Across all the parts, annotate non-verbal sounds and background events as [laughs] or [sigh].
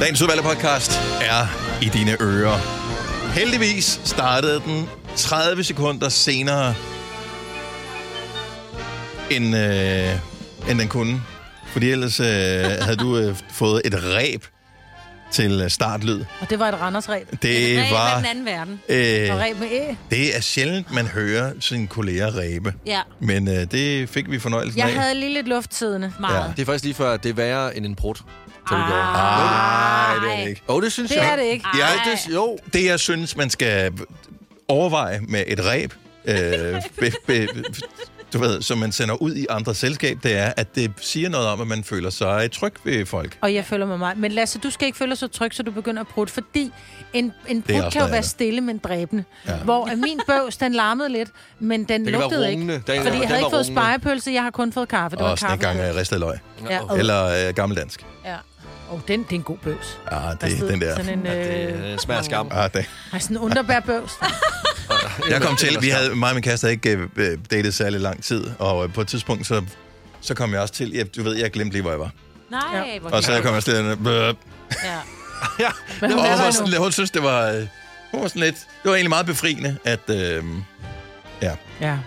Dagens udvalgte podcast er i dine ører. Heldigvis startede den 30 sekunder senere, end, øh, end den kunne. Fordi ellers øh, havde du øh, fået et ræb til øh, startlyd. Og det var et Randers-ræb. Det Ræb var... af den anden verden. Og Øh, ræb med æ. det er sjældent, man hører sine kolleger ræbe. Ja, Men øh, det fik vi fornøjelsen af. Jeg havde lige lidt luft siddende. meget. Det er faktisk lige før, at det er værre end en brud. Så det går. Nej, det er det Ej. ikke. Åh, det synes Det jeg. er det ikke. Jeg, Ej. Det, jo, det, jeg synes, man skal overveje med et ræb, øh, be, be, du ved, som man sender ud i andre selskab, det er, at det siger noget om, at man føler sig tryg ved folk. Og jeg føler mig meget. Men Lasse, du skal ikke føle dig så tryg, så du begynder at prutte, fordi en, en er også prut kan jo noget være andet. stille, men dræbende. Ja. Ja. Hvor at min bøvs, den larmede lidt, men den det kan være lugtede ikke. rungende. Den, Fordi den jeg havde var ikke fået rungende. spejepølse, jeg har kun fået kaffe. Det var Og sådan en kaffe. gang øh, ristet løg. Ja, og, Eller øh, gammeldansk. ja. Oh, den, det er en god bøvs. Ja, ah, Der det er stod den der. Sådan en, øh, Det smager af skam. Ah, det. ej, sådan en underbærbøvs. Jeg kom til, vi havde, mig og min kæreste havde ikke øh, datet særlig lang tid, og øh, på et tidspunkt, så, så kom jeg også til, jeg, du ved, jeg glemte lige, hvor jeg var. nej, Ja. hvor Og så hyggeligt. kom jeg også til, Ja. Ja. Men hun Og er hun, var der sådan, nu. lidt- hun synes, det var, øh, hun var sådan lidt... Det var egentlig meget befriende, at, øh, Ja.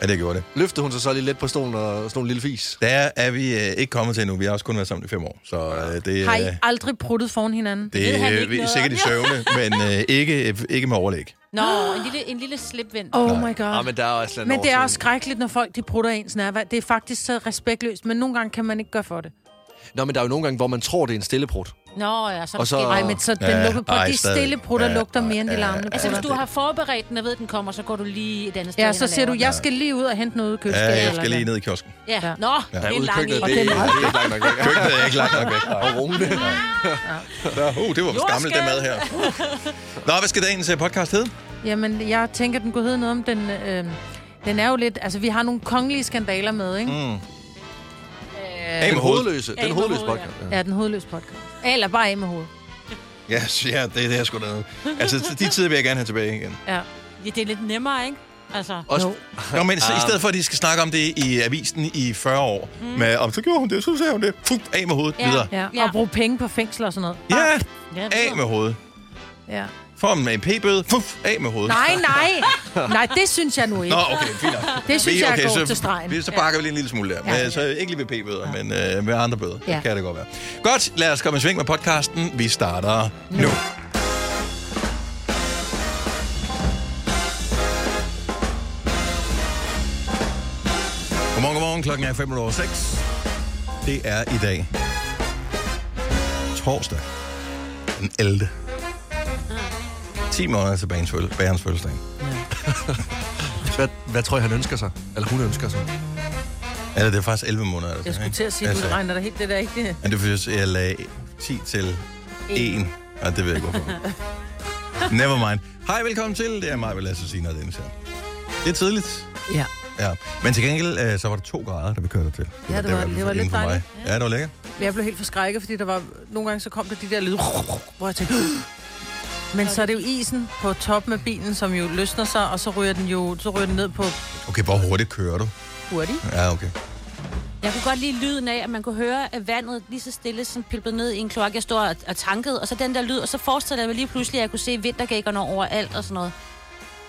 at jeg gjorde det. Løftede hun sig så lige let på stolen og sådan en lille fis. Der er vi øh, ikke kommet til endnu. Vi har også kun været sammen i fem år. Så øh, det, Har øh, I aldrig pruttet foran hinanden? Det. ved det, han øh, ikke vi er noget sikkert i om. [laughs] søvne, men øh, ikke, ikke med overlæg. Nå, en lille, en lille slipvind. Oh my god. Ah, Ja, men der er også lidt Men det er overskud. også skrækkeligt, når folk de prutter ens nærvær. Det er faktisk så respektløst, men nogle gange kan man ikke gøre for det. Nå, men der er jo nogle gange, hvor man tror, det er en stillebrud. Nå, ja, så Og så- måske- Nej, men så Ja, den lukker på. ej, De stadig. stille prutter Ja, lugter ej, mere end de ja, larmende Altså, hvis prutter. du har forberedt den og ved, den kommer, så går du lige et andet sted. Ja, hen så og siger du, laver jeg skal lige ud og hente noget ude i Ja, køkkenet. jeg eller skal hvad? lige ned i kiosken. den. Ja. Ja. Nå, ja, det er en ude i lang køkkenet, en. det, det, er ikke langt nok væk. Køkkenet er ikke langt nok væk. Og rungende. Nå, uh, det var vist gammelt, det mad her. Nå, hvad skal dagens øh, podcast hedde? [laughs] Jamen, jeg tænker, den kunne hedde noget om den... Øh, den er jo lidt... Altså, vi har nogle kongelige skandaler med, ikke? Mm. Af Den med hovedet. hovedløse. Ja, Den i hovedløse hovedet, ja. podcast. Ja, den hovedløse podcast. Eller bare af med hovedet. Yes, ja, [laughs] det, det er sgu da. Altså, [laughs] de tider vil jeg gerne have tilbage igen. Ja. Ja, det er lidt nemmere, ikke? Altså, Også, Jo. Nå, men Ah. så, i stedet for, at de skal snakke om det i avisen i 40 år, mm. med, om så gjorde hun det, så sagde hun det, Fup, af med hovedet, Ja. videre. Ja. Ja. ja. Og bruge penge på fængsel og sådan noget. Ja, ja, af med hovedet. Ja. Får man en p-bøde, fuf, af med hovedet. Nej, [laughs] nej. Nej, det synes jeg nu ikke. Nå, okay, fint nok. Det synes Vi- jeg er så, gået til stregen. Vi, så bakker vi lige en lille smule der. Ja. Men, så ikke lige ved p-bøder, men øh, med andre bøder. Ja. Ja. Det kan det godt være. Godt, lad os komme i sving med podcasten. Vi starter nu. Godmorgen, godmorgen. Klokken er 5 over 6. Det er i dag. Torsdag. Den 11. 10 måneder til bagens fødsel- bagerens fødselsdag. hvad, hvad tror jeg, han ønsker sig? Eller hun ønsker sig? Eller det er faktisk 11 måneder. Altså, Jeg skulle ikke? til at sige, at Altså, du regner dig helt det der ikke. det- Men det er fordi, jeg lagde 10 til 1. Ja, det ved jeg ikke, hvorfor. Never mind. Hej, velkommen til. Det er mig, vil Lasse Sina og Dennis her. Det er tidligt. Ja. Ja. Men til gengæld, øh, så var det to grader, da vi kørte til. Ja, det var- det var lidt dejligt. Ja, det var lækkert. Jeg blev helt forskrækket, fordi der var, nogle gange så kom der de der lyde, hvor jeg tænkte... Men så er det jo isen på toppen af bilen, som jo løsner sig, og så ryger den jo så ryger den ned på Okay, hvor hurtigt kører du? hurtigt. Ja, okay. Jeg kunne godt lide lyden af, at man kunne høre at vandet lige så stille, som pipede ned i en kloak. Jeg stod og, og tankede, og så den der lyd, og så fortsatte jeg lige pludselig, at jeg kunne se vintergækkerne overalt og sådan noget.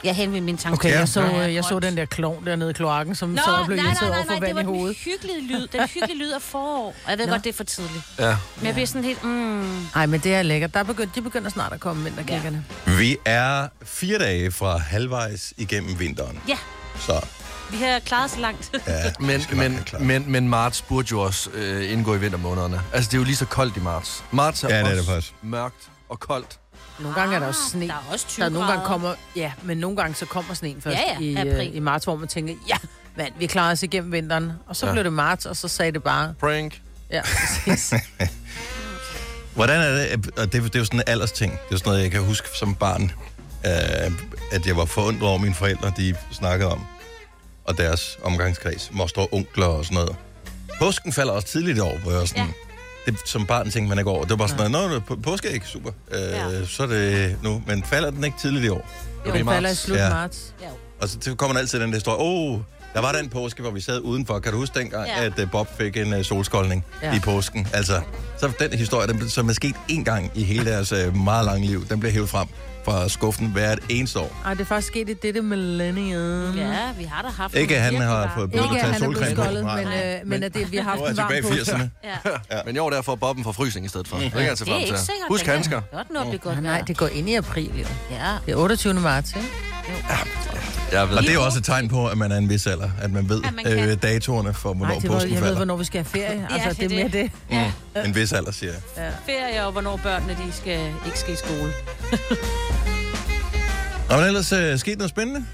Jeg henvendte min tanke. Okay, Ja. jeg, så, Ja. øh, jeg så den der klovn dernede i kloakken, som så blev nej, nej, irriteret over nej, for nej, det vand var i den hovedet. hyggelige lyd. Den hyggelige lyd af forår. Og Jeg ved Nå. godt, det er for tidligt. Ja. Men jeg bliver sådan helt, mm, Nej, men det er lækkert. Der er begyndt, de begynder snart at komme vintergækkerne. Ja. Vi er fire dage fra halvvejs igennem vinteren. ja, Så vi har klaret så langt. ja, Men, vi skal nok være klar. men, men, men marts burde jo også øh, indgå i vintermånederne. Altså, det er jo lige så koldt i marts. Marts er, Ja, det er også det faktisk. mørkt og koldt. Nogle gange er Ah, der også sne. Der er også 20 Der er nogle gange grader. kommer, ja, men nogle gange så kommer sneen først Ja, ja, i, april. øh, i marts, hvor man tænker, ja, mand, vi klarer os igennem vinteren. Og så Ja. ja. blev det marts, og så sagde det bare, Prank. ja, præcis. Hvordan er det? Og det, det er jo sådan en aldersting. Det er jo sådan noget, jeg kan huske som barn, øh, at jeg var forundret over mine forældre, de snakkede om, og deres omgangskreds, moster og onkler og sådan noget. Påsken falder også tidligt i år, hvor jeg var sådan, ja. det, som barn tænkte man ikke over. Det var bare sådan noget, nå, på, påske er ikke super, øh, ja. Ja. så er det nu, men falder den ikke tidligt i år? Jo, det er den falder i marts. slut Ja. ja. marts. Ja. Og så kommer der altid den der historie, åh, oh, Der var der en påske, hvor vi sad udenfor. Kan du huske dengang, ja. Ja. at øh, Bob fik en uh, solskoldning ja. Ja. i påsken? Altså, så den historie, den, som er sket én gang i hele deres uh, meget lange liv, den blev hævet frem fra skuffen hvert eneste år. [laughs] Ej, det er faktisk sket i dette millennium. Ja, vi har da haft... Ikke, nogle at han virkelig har varme. fået Ikke, Burde at tage han er blevet solcreme på. skoldet, Nej. men, øh, men at det, vi har haft Nu er en jeg varm tilbage i Mm. påske. 80'erne. Ja. Ja. Men i år der får Bobben fra frysning i stedet for. Ja. Det kan jeg se Det er frem ikke til. sikkert. Husk det kan handsker. Godt nå, det godt. Ja, nej, det går ind i april, jo. Ja. Det er 28. marts, ikke? Jeg ved. Og det. det er jo også et tegn på, at man er en vis alder, at man ved At man kan. øh, datorerne for, hvornår Nej, Ej, det var, påsken jeg ved, falder. hvornår vi skal have ferie. Altså, det det, er er mere det. En vis alder, siger jeg. Ferie og hvornår børnene de skal, ikke skal i skole. Nå, men ellers øh, sket noget spændende?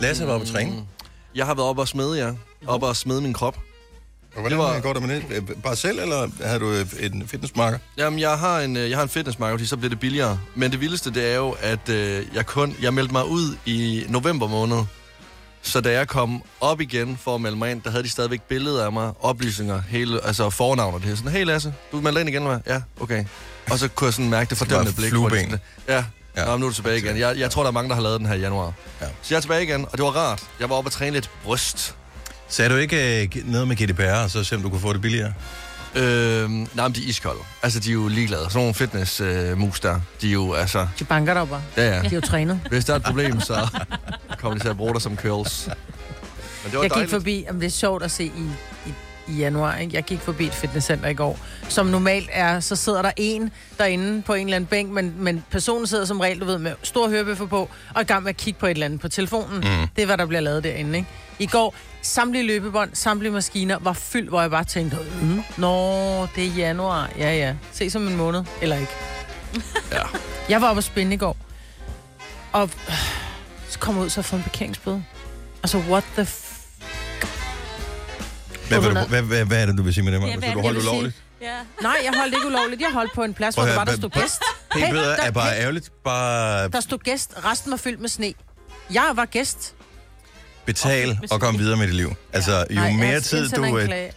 Lasse var på træning. Mm. Jeg har været oppe og smede jer. Oppe og smede min krop. Hvordan var- går det med det? Øh, Bare selv, eller havde du øh, en fitnessmarker? Jamen, jeg har en, øh, jeg har en fitnessmarked, fordi så bliver det billigere. Men det vildeste, det er jo, at øh, jeg kun... Jeg meldte mig ud i november måned. Så da jeg kom op igen for at melde mig ind, der havde de stadigvæk billeder af mig, oplysninger, hele, altså fornavn og det her. Sådan, hey Lasse, du melder dig ind igen, eller hvad? Ja, okay. Og så kunne jeg sådan mærke det fordømmende bare blik. flueben. Sådan, Ja, Ja. ja. Nå, men nu er du tilbage igen. Jeg, jeg tror, der er mange, der har lavet den her i januar. Ja. Ja. Så jeg er tilbage igen, og det var rart. Jeg var oppe og træne lidt bryst. Sagde du ikke øh, g- noget med GDPR, og så se, om du kunne få det billigere? Øhm, nej, men de er iskolde. Altså, de er jo ligeglade. Sådan nogle fitness øh, mus der, de er jo, altså... De banker dig bare. Ja, ja. De er jo trænet. Hvis der er et problem, så kommer de til at bruge dig som curls. Men det var Jeg gik dejligt. forbi, om det er sjovt at se i, i, i januar, ikke? jeg gik forbi et fitnesscenter i går, som normalt er, så sidder der en derinde på en eller anden bænk, men, men personen sidder som regel, du ved, med store hørebøffer på, og i gang med at kigge på et eller andet på telefonen. Mm. Det er, hvad der bliver lavet derinde, ikke? I går, samtlige løbebånd, samtlige maskiner var fyldt, hvor jeg bare tænkte, mm, nå, det er januar, ja ja, se som en måned, eller ikke. [laughs] Ja. Jeg var oppe at spænde i går, og øh, så kom jeg ud, så få en parkeringsbøde. Altså, what the f- Hvad, vil du, Hvorfor? hvad, hvad, hvad er det, du vil sige med det, Maja? Ja, Ja, hvad du er holdt det, jeg vil ulovligt? Ja. Nej, jeg holdt ikke ulovligt. Jeg holdt på en plads, Prøv hvor at der var, høre, der stod hvad- gæst. Hey, P-bøder der- er bare hey, ærgerligt. Bare Der stod gæst, resten var fyldt med sne. Jeg var gæst. betal hvis- og kom videre med dit liv. Altså, jo Nej, jeg mere har tid indsender du... en øh, klage.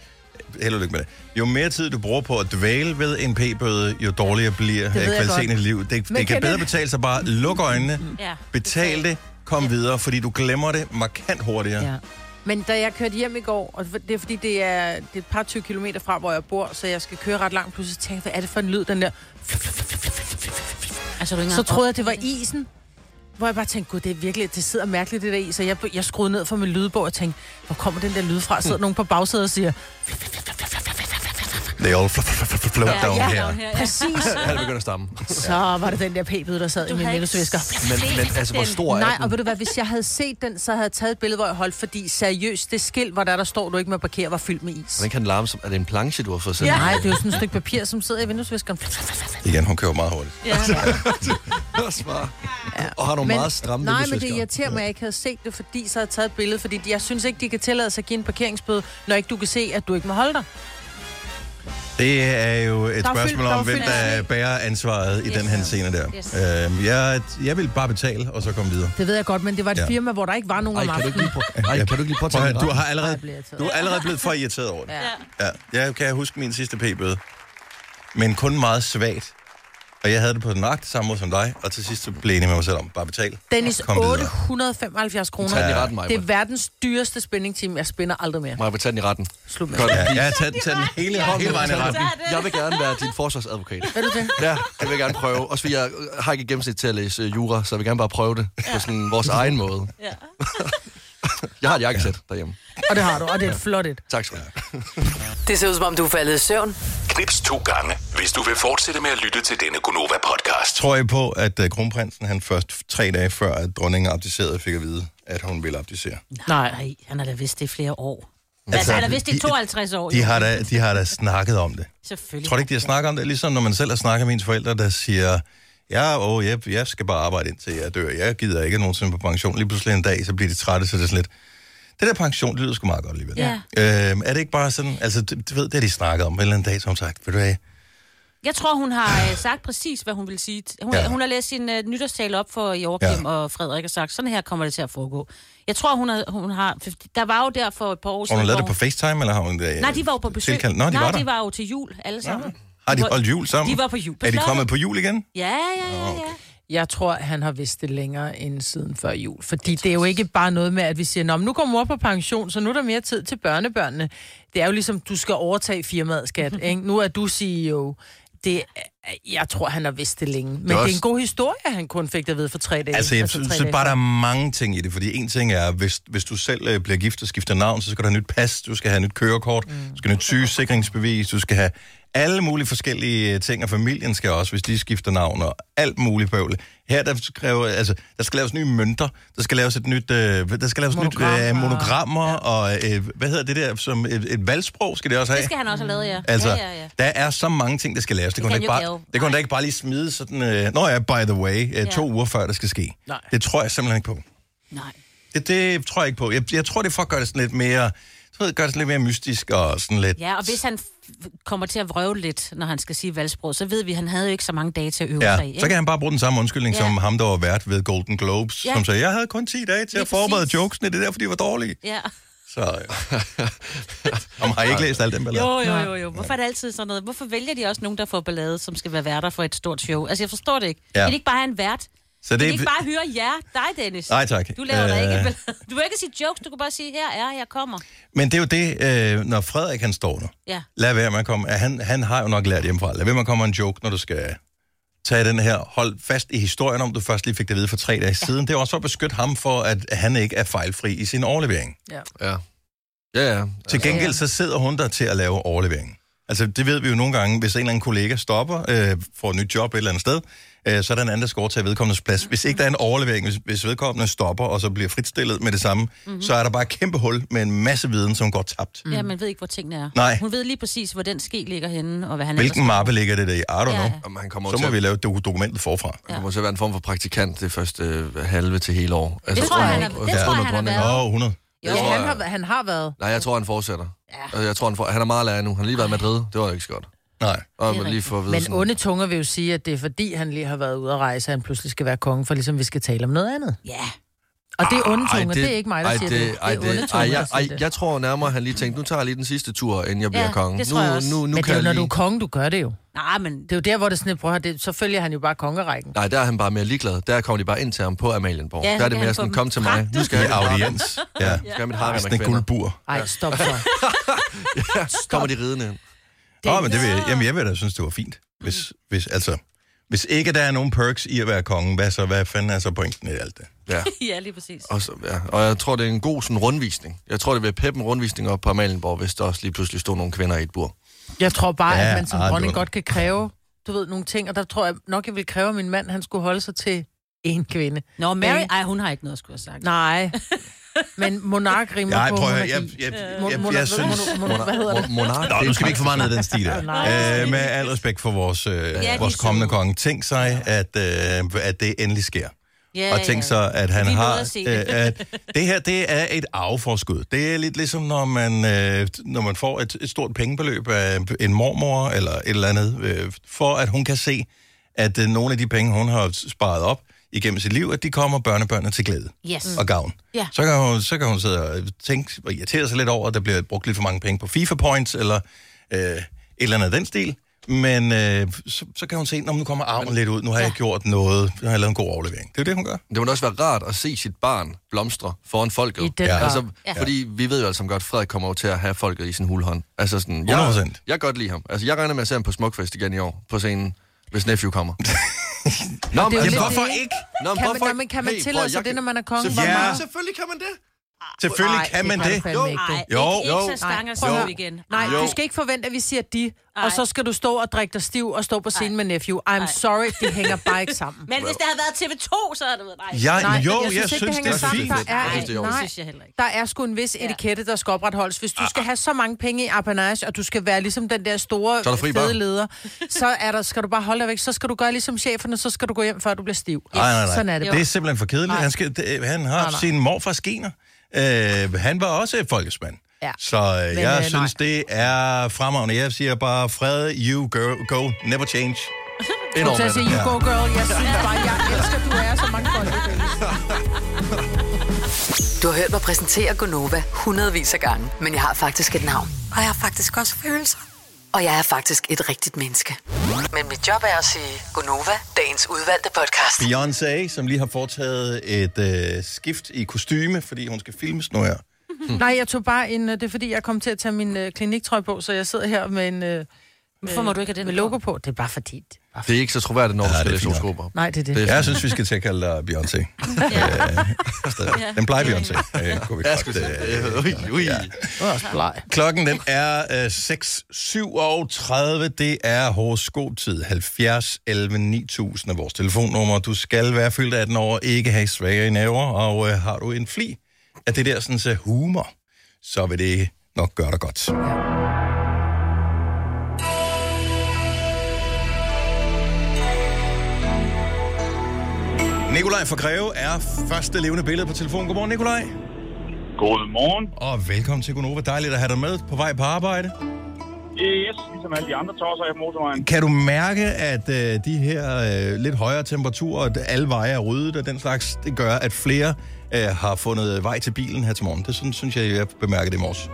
Held og lykke med det. Jo mere tid du bruger på at dvæle ved en p-bøde, jo dårligere bliver øh, ved jeg kvaliteten i godt. dit liv. Det, det Men kan, kan bedre det- betale sig bare luk øjnene, ja. betal det, kom videre, fordi du glemmer det markant hurtigere. Ja. Men da jeg kørte hjem i går, og det er fordi, det er, det er et par 20 kilometer fra, hvor jeg bor, så jeg skal køre ret langt, pludselig tænker jeg, hvad er det for en lyd, den der... Altså, du er ikke Så troede jeg, det var isen, hvor jeg bare tænkte, gud, det er virkelig, det sidder mærkeligt, det der is. Så jeg, jeg skruede ned for min lydbog og tænkte, hvor kommer den der lyd fra? Sidder nogen på bagsædet og siger, They all fl- fl- fl- fl- float down ja, here. down her. Ja. [laughs] præcis. Jeg havde begyndt at stamme. [laughs] Så var det den der p-bøde, der sad i Du min havde ikke vinduesvisker. Men, men altså, hvor stor er Nej, og den? ved du hvad, hvis jeg havde set den, så havde jeg taget et billede, hvor jeg holdt, fordi seriøst, det skilt, hvor der, der står, du ikke må parkere, var fyldt med is. Hvordan kan den larme som... Er det en planche, du har fået sendt? Ja. Nej, det er jo sådan et stykke papir, som sidder i vinduesviskeren. Altså, Igen, hun kører meget hurtigt. Ja. Ja. Og har nogle Men- men, meget stramme Nej, men det vinduesviskere. irriterer mig, at jeg ikke havde set det, fordi så havde jeg taget et billede, fordi jeg synes ikke, de kan tillade sig at give en parkeringsbøde, når ikke du kan se, at du ikke må holde dig. Det er jo et Der er spørgsmål fyldt- der om, er hvem fyldt der sne. bærer ansvaret i Yes. den her scene der. Yes. Øhm, Jeg jeg vil bare betale, og så komme videre. Det ved jeg godt, men det var et Ja. ja. firma, hvor der ikke var nogen Ej, om kan du ikke aftenen. lige, prø- Ej, kan du ikke lige Prøv påtage at mig høre, ret? du har Ej, bliver allerede, jeg taget. du er allerede blevet for irriteret over det. ja. Ja, jeg kan huske min sidste p-bøde. Men kun meget svagt. Og jeg havde det på den nøjagtige samme måde som dig, og til sidst så blev jeg enig med mig selv om, bare betal. Dennis, Kom videre. 875 kroner. Tag den i retten, Maja. Det er verdens dyreste spændingteam. Jeg spænder aldrig mere. Må jeg tage den i retten? Slut med. Godt. Ja, jeg har taget, taget den hele, hele vejen i retten. Jeg vil gerne være din forsvarsadvokat. Ved du det? Ja, det vil jeg gerne prøve. Også fordi jeg øh, har ikke et gennemsnit til at læse øh, jura, så jeg vil gerne bare prøve det på sådan vores egen måde. Ja. [laughs] Jeg har et jakkesæt derhjemme. Og det har du, og det er flot et. Tak skal du have. Det ser ud som om, du er faldet i søvn. Knips to gange, hvis du vil fortsætte med at lytte til denne Gonova-podcast. Tror I på, at øh, kronprinsen han først tre dage før, at dronningen abdicerede, fik at vide, at hun ville abdicere? Nej, han har da vidst det i flere år. Altså, Altså, han har vidst det i de- 52 år, De jo. har da, de har da snakket om det. Selvfølgelig. Tror du ikke, de har snakket om det? Ligesom når man selv har snakket med ens forældre, der siger, ja, åh, jeg, jeg skal bare arbejde indtil jeg dør. Jeg gider ikke nogensinde på pension. Lige pludselig en dag, så bliver de trætte, så det er sådan lidt... Det der pension, det lyder sgu meget godt alligevel. Ja. Øhm, er det ikke bare sådan... Altså, du, du ved, det har de snakket om en eller anden dag, som har sagt, ved du hvad, Jeg tror, hun har øh, sagt præcis, hvad hun vil sige. t- Hun, Ja. ja. hun har læst sin øh, nytårstale op for Joachim Ja. ja. og Frederik og sagt, sådan her kommer det til at foregå. Jeg tror, hun har... Hun har for der var jo der for et par år har siden... hun lavet hvor det på FaceTime, eller har hun det, øh, Nej, de var jo på besøg. tilkaldt? Nå, de Nej, var der. de var jo til jul alle sammen. Har de holdt jul sammen? De var på jul på Er de slottet. kommet på jul igen? Ja, ja, ja, ja. Jeg tror, han har vidst det længere end siden før jul. Fordi det er jo ikke bare noget med, at vi siger, Nå, men nu går mor på pension, så nu er der mere tid til børnebørnene. Det er jo ligesom, du skal overtage [laughs] firmaet, skat. Ikke? Nu er du CEO. Det, er- jeg tror, han har vidst det længe. Men det er, også- en god historie, at han kun fik det at vide for tre dage. Altså, jeg synes tre synes dage bare, der er mange ting i det, fordi en ting er, hvis, hvis du selv øh, bliver gift og skifter navn, så skal du have nyt pas, du skal have nyt kørekort, mm. du skal have nyt sygesikringsbevis, du skal have alle mulige forskellige øh, ting, og familien skal også, hvis de skifter navn, og alt muligt bøvl. Her der, kræver, altså, der skal laves nye mønter, der skal laves et nyt, øh, der skal laves monogrammer, nyt, øh, Monogrammer. monogrammer ja. og øh, hvad hedder det der, som et, et valgsprog skal det også have? Det skal han også have lavet, ja. Altså, ja, ja, ja. der er så mange ting, der skal laves. Det, kan kunne han ikke jo bare, ikke lave. det kunne han da Nej. ikke bare lige smide sådan... Øh, Nå ja, by the way, øh, to uger før det skal ske. Nej. Det tror jeg simpelthen ikke på. Nej. Det, det tror jeg ikke på. Jeg, jeg tror, det er for at gøre det sådan lidt mere... Du ved, gør det sådan lidt mere mystisk og sådan lidt... Ja, og hvis han f- kommer til at vrøve lidt, når han skal sige valgsprog, så ved vi, at han havde jo ikke så mange dage til at øve Ja, sig. i, så ikke? kan han bare bruge den samme undskyldning Ja. som ham, der var vært ved Golden Globes, Ja. som sagde, jeg havde kun 10 dage til Lige at forberede præcis. jokesene, det er derfor, de var dårlige. Ja. Så, øh. Om har I ikke læst alt den ballade? Jo, jo, jo, jo. Hvorfor er det altid sådan noget? Hvorfor vælger de også nogen, der får ballade, som skal være værter for et stort show? Altså, jeg forstår det ikke. Ja. Ja. Kan de ikke bare have en vært? Så Kan de det, ikke bare hyre jer, dig, Dennis? Nej, tak. Du laver øh... da Øh. ikke en ballade. Du vil ikke sige jokes, du kan bare sige, her er, jeg kommer. men det er jo det, øh, når Frederik han står der. Ja. lad være med at komme. Han, han har jo nok lært hjemmefra. Lad være med at komme med en joke, når du skal tage den her. Hold fast i historien om, du først lige fik det at vide for tre dage ja. siden. Det er også for at beskytte ham for, at han ikke er fejlfri i sin overlevering. Ja. Ja, ja. Til gengæld så sidder hun der til at lave overleveringen. Altså, det ved vi jo nogle gange, hvis en eller anden kollega stopper, øh, får et nyt job et eller andet sted, øh, så er der en anden, der skal overtage vedkommendes plads. Hvis ikke der er en overlevering, hvis, hvis vedkommende stopper og så bliver fritstillet med det samme, mm-hmm. så er der bare et kæmpe hul med en masse viden, som går tabt. Mm. Mm. Ja, man ved ikke, hvor tingene er. Nej. Hun ved lige præcis, hvor den ske ligger henne, og hvad han Hvilken mappe ligger det der i? I don't Ja, know. ja. Jamen, han kommer Så jo til, må at- vi lave do- dokumentet forfra. han kommer til at være en form for praktikant det første øh, halve til hele år. Altså, Det tror jeg, han er- under- det tror jeg, han er under- været. Åh, 100. Jo, Det Ja, tror han jeg. har, han har været. Nej, jeg tror, han fortsætter. Ja. Jeg tror, han, for... han er meget lærer nu. Han har lige været i Madrid. Det var jo ikke så godt. Nej. Og man Det er lige rigtigt. for at vide Men sådan... onde tunger vil jo sige, at det er fordi, han lige har været ude at rejse, at han pludselig skal være konge, for ligesom vi skal tale om noget andet. Ja. Og det er onde tunger, Ej, det, er ikke mig, der siger det. Det ej, er onde ej, tunger, der jeg, siger ej, det. jeg tror nærmere, han lige tænkte, nu tager jeg lige den sidste tur, inden jeg bliver Ja, konge. det nu, tror jeg også. Nu, nu Men det kan er jo, jeg når lige... du er konge, du gør det jo. Nej, men Det er jo der, hvor det er sådan lidt, prøv at høre, det, så følger han jo bare kongerækken. Nej, der er han bare mere ligeglad. Der kommer de bare ind til ham på Amalienborg. Ja, Ja, der er så det kan mere han få sådan, dem kom til mig. fragtet. Nu skal jeg Ja, audiens. Ja. skal jeg mit harem af Sådan et kvinder. guldbur. Ej, stop for. Kommer de ridende ind. Åh, men det vil jeg, jamen, jeg vil da synes, det var fint. Hvis, hvis, altså, hvis ikke der er nogen perks i at være konge, hvad, så, hvad fanden er så pointen i alt det? [laughs] Ja. ja, lige præcis. Og, så, ja. og jeg tror, det er en god sådan, rundvisning. Jeg tror, det vil peppe en rundvisning op på Amalienborg, hvis der også lige pludselig stod nogle kvinder i et bur. Jeg tror bare, Ja, at man som ah, dronning du- godt kan kræve, du ved, nogle ting, og der tror jeg nok, jeg vil kræve, at min mand, han skulle holde sig til en kvinde. Nå, Mary, ej, hun har ikke noget at skulle have sagt. Nej. Men monark rimer Jeg på prøver at høre, monarki. jeg, jeg, Mon- jeg, jeg, monar- jeg synes... monar- monar- Hvad hedder det? Monark, Nå, det nu er skal vi ikke for meget ned i den sti [laughs] der. Nej. Øh, med al respekt for vores, øh, de vores er kommende søde. konge. Tænk sig, at, øh, at det endelig sker. Ja, Og tænk så, at han Vi nåede har... at se øh, det. at det her, det er et arveforskud. Det er lidt ligesom, når man, øh, når man får et, et stort pengebeløb af en mormor eller et eller andet, øh, for at hun kan se, at øh, nogle af de penge, hun har sparet op igennem sit liv, at de kommer børnebørnene til glæde Yes. og gavn. Ja. Så, kan hun, så kan hun sidde og tænke og irritere sig lidt over, at der bliver brugt lidt for mange penge på FIFA points, eller øh, et eller andet af den stil. Men øh, så, så kan hun se, at nu kommer arven lidt ud, nu har jeg gjort noget, nu har jeg lavet en god overlevering. Det er jo det, hun gør. Det må da også være rart at se sit barn blomstre foran folket. I den Ja. grad. Altså, Ja. ja. Fordi vi ved jo altså godt, at Frederik kommer jo til at have folket i sin hulhånd. Altså sådan, jeg, 100%. Jeg kan godt lide ham. Altså, jeg regner med at se ham på Smukfest igen i år, på scenen, hvis Nephew [laughs] kommer. Nå, men, jo Jamen, lidt hvorfor det, ikke? Nå, Kan man- nå, men kan man tillade bror, sig jeg det, kan- når man er konge? Selvfølgelig, Hvor meget? selvfølgelig kan man det. Selvfølgelig Nej, kan man kan du det. fandme Jo. ikke, du. Ej, Jo, ikke, jo. ikke så stanger prøv at sig høre. igen. Nej, Jo. du skal ikke forvente, at vi siger de, Ej. og så skal du stå og drikke dig stiv og stå på scenen med Nephew. I'm Ej. sorry, det hænger bare ikke sammen. Men hvis det havde været TV2, så havde det været nej. Jeg, Nej, jo, jeg synes jeg, ikke, det synes, det, hænger er sammen. fint. Der er- Jeg synes, det er i orden. Det nej. synes jeg heller ikke. Ah, Der er sgu en vis etikette, der skal opretholdes. Hvis du skal have så mange penge i apanage, og du skal være ligesom den der store Så er der fri bar. fede leder, så er der, skal du bare holde dig væk. Så skal du gøre ligesom cheferne, så skal du gå hjem, før du bliver stiv. Nej, nej, nej. Sådan er det Det bare. er simpelthen for kedeligt. Han, skal, det, han har nej. sin morfars gener. Øh, han var også folkesmand. Ja. Så øh, jeg øh, nej. synes, det er fremragende. Jeg siger bare, Fred, you girl, go, never change. Enormt Så med jeg siger, det. you go girl, jeg synes bare, jeg elsker, du er så mange folk. Du har hørt mig præsentere Gonova hundredvis af gange, men jeg har faktisk et navn. Og jeg har faktisk også følelser. og jeg er faktisk et rigtigt menneske. Men mit job er at sige Gonova, dagens udvalgte podcast. Beyoncé, som lige har foretaget et øh, skift i kostyme, fordi hun skal filmes nu her. Nej, jeg tog bare en... øh, Det er fordi, jeg kom til at tage min øh, kliniktrøje på, så jeg sidder her med en... Øh, Hvorfor må du ikke have den med på? logo på. Det er bare fordi... Det er ikke så troværdigt, når du Ja, skal det er læse fint nok. horoskoper. Nej, det er det. Det det. er- Jeg synes, vi skal til at kalde dig Beyoncé. Øh, stadig. den plejer Beyoncé. Øh, kunne vi Ja, godt, sgu da. øh, Øh, Ui, ui. var også bleg. Klokken den er øh, 6.37. Det er horoskoptid. 70 11 9000 er vores telefonnummer. Du skal være fyldt 18 år, ikke have svager i naver, og øh, har du en fli af det der sådan, så humor, så vil det nok gøre dig godt. Nikolaj fra Greve er første levende billede på telefonen. Godmorgen, Nikolaj. Godmorgen. Og velkommen til Gunova. Dejligt at have dig med på vej på arbejde. Yes, ligesom alle de andre tosser her på motorvejen. Kan du mærke, at øh, de her øh, lidt højere temperaturer, at alle veje er ryddet og den slags, det gør, at flere øh, har fundet vej til bilen her til morgen? Det synes, synes jeg, jeg bemærker det i morges.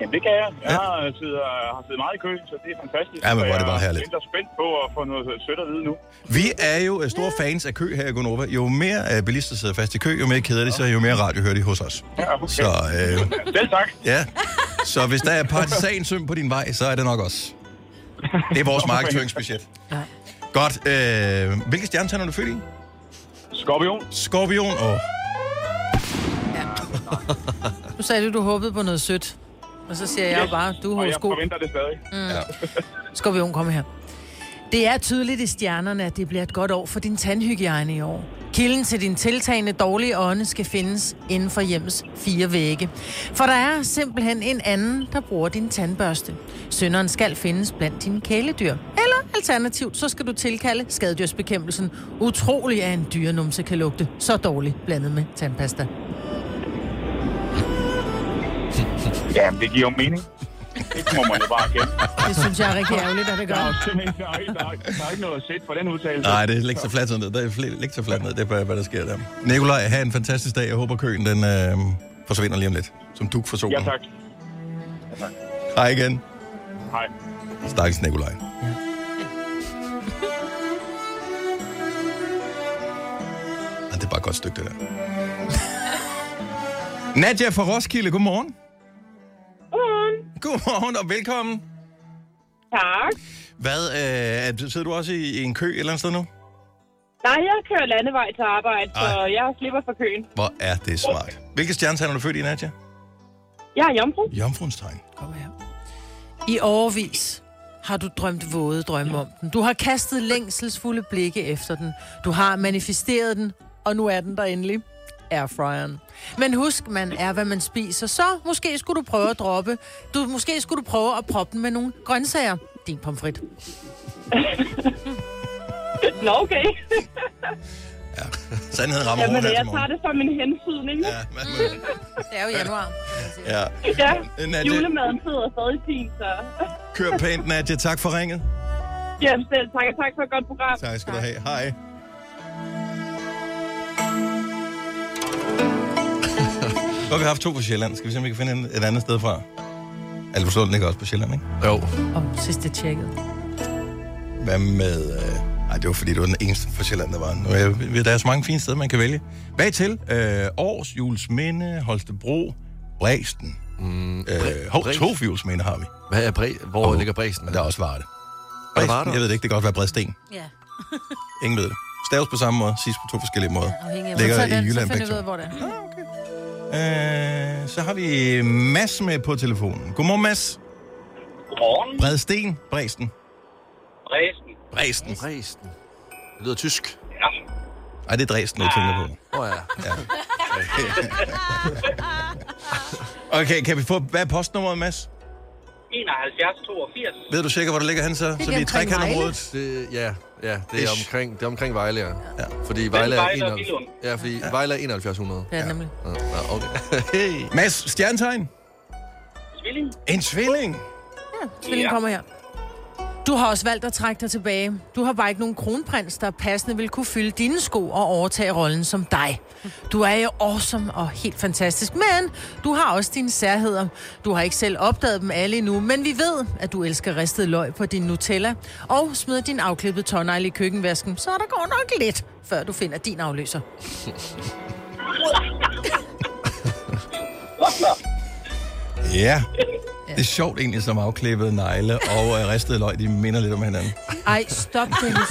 Jamen, det kan jeg. Jeg har, øh, sidder, har siddet meget i kø, så det er fantastisk. Ja, men Så hvor er det bare jeg herligt. Jeg er spændt på at få noget sødt at vide nu. Vi er jo øh, store fans af kø her i Gunova. Jo mere øh, bilister sidder fast i kø, jo mere keder de sig, jo mere radio hører de hos os. Ja, okay. Så, øh, Selv tak. ja. så hvis der er partisansøm på din vej, så er det nok os. Det er vores markedsføringsbudget. Ja. Godt. Øh, hvilke stjernetegn er du født i? Skorpion. Skorpion og... Nu sagde du, du håbede på noget sødt. Og så siger jeg jo bare, du er Og jeg horoskop. forventer det stadig. Ja. Skorpion, kom her. Det er tydeligt i stjernerne, at det bliver et godt år for din tandhygiejne i år. Kilden til din tiltagende dårlige ånde skal findes inden for hjemmes fire vægge. For der er simpelthen en anden, der bruger din tandbørste. Sønderen skal findes blandt dine kæledyr. Eller alternativt, så skal du tilkalde skadedyrsbekæmpelsen. Utrolig er en dyrenumse kan lugte så dårligt blandet med tandpasta. Jamen, det giver jo mening. Det må man jo bare kende. Det synes jeg er rigtig ærgerligt, at det Der er, jo gør. simpelthen- der er, ikke- der er, ikke- der er ikke noget at sætte for den udtalelse. Nej, det er ikke så fladt sådan noget. Der er fl- ikke så fladt ned. Det er bare, hvad der sker der. Nikolaj, have en fantastisk dag. Jeg håber, køen den, øh, forsvinder lige om lidt. Som duk for solen. Ja, tak. Hej igen. Hej. Stakkels Nikolaj. Ja. Det er bare et godt stykke, [laughs] det der. Nadja fra Roskilde, godmorgen. Godmorgen. Godmorgen og velkommen. Tak. Hvad, øh, er- sidder du også i, i en kø et eller andet sted nu? Nej, jeg kører landevej til arbejde, så Ej. jeg slipper for køen. Hvor er det smart. Hvilke stjernetegn er du født i, Nadja? Jeg er jomfru. Jomfruens tegn. Kom her. I overvis har du drømt våde drømme om den. Du har kastet længselsfulde blikke efter den. Du har manifesteret den, og nu er den der endelig. Airfryeren. Men husk, man er, hvad man spiser. Så måske skulle du prøve at droppe. Du, måske skulle du prøve at proppe den med nogle grøntsager. Din pomfrit. Nå, okay. Sandheden rammer Jamen, over her jeg til tager morgen. det som en hensydning. Ja, hvad med- [laughs] Det er jo januar. ja. Ja. Øh, Nadja, Julemaden sidder stadig fint, så... kør pænt, Nadja. Tak for ringet. Ja, selv tak, og tak for et godt program. Tak skal du have. [laughs] Hej. [laughs] Nu har vi haft to på Sjælland. Skal vi se, om vi kan finde en- et andet sted fra? Albertslund ligger også på Sjælland, ikke? Jo. Om sidste tjekket. Hvad med... Øh... Ej, det var fordi, det var den eneste fra Sjælland, der var. Nu er jeg, der er så mange fine steder, man kan vælge. Bag til øh, Aarhus, Julesminde, Holstebro, Bræsten. Mm, øh, hov, Bræst. to Julesminde har vi. Hvad er Bræ... Hvor ligger Bræsten? Men der er også Varde. Varde Bræsten, jeg også? ved det ikke, det kan godt være Bredsten. Ja. Ingen ved det. Staves på samme måde, siges på to forskellige måder. afhængig af- Ligger Så, i den, så Jylland finder begge vi ud af, to. hvor det er. Øh, så har vi Mads med på telefonen. Godmorgen, Mads. Godmorgen. Bredsten, Bræsten. Dresden. Bræsten. Bræsten. Det lyder tysk. Ja. Ej, det er Dresden, jeg tænker på. Åh oh, ja. Okay, kan vi få... Hvad er postnummeret, Mads? 71, 82. Ved du sikkert, hvor det ligger han så? Så vi er i omkring trekantområdet. Det, ja, ja, det er Ish. omkring, det er omkring Vejle, ja. Ja. Fordi Vejle er, Vejle og 71 Billund. ja, fordi Vejle er 7100. Det er det nemlig. Ja, ja, [laughs] okay. Hey. Mads, stjernetegn? Tvilling. En tvilling? Tvillingen kommer her. Du har også valgt at trække dig tilbage. Du har bare ikke nogen kronprins, der passende vil kunne fylde dine sko og overtage rollen som dig. Du er jo awesome og helt fantastisk, men du har også dine særheder. Du har ikke selv opdaget dem alle endnu, men vi ved, at du elsker ristet løg på din Nutella og smider din afklippede tårnegle i køkkenvasken, så der går nok lidt, før du finder [laughs] din afløser. Ja. Det er sjovt egentlig, som afklippede negle og øh, ristede løg, de minder lidt om hinanden. Ej, stop, Dennis.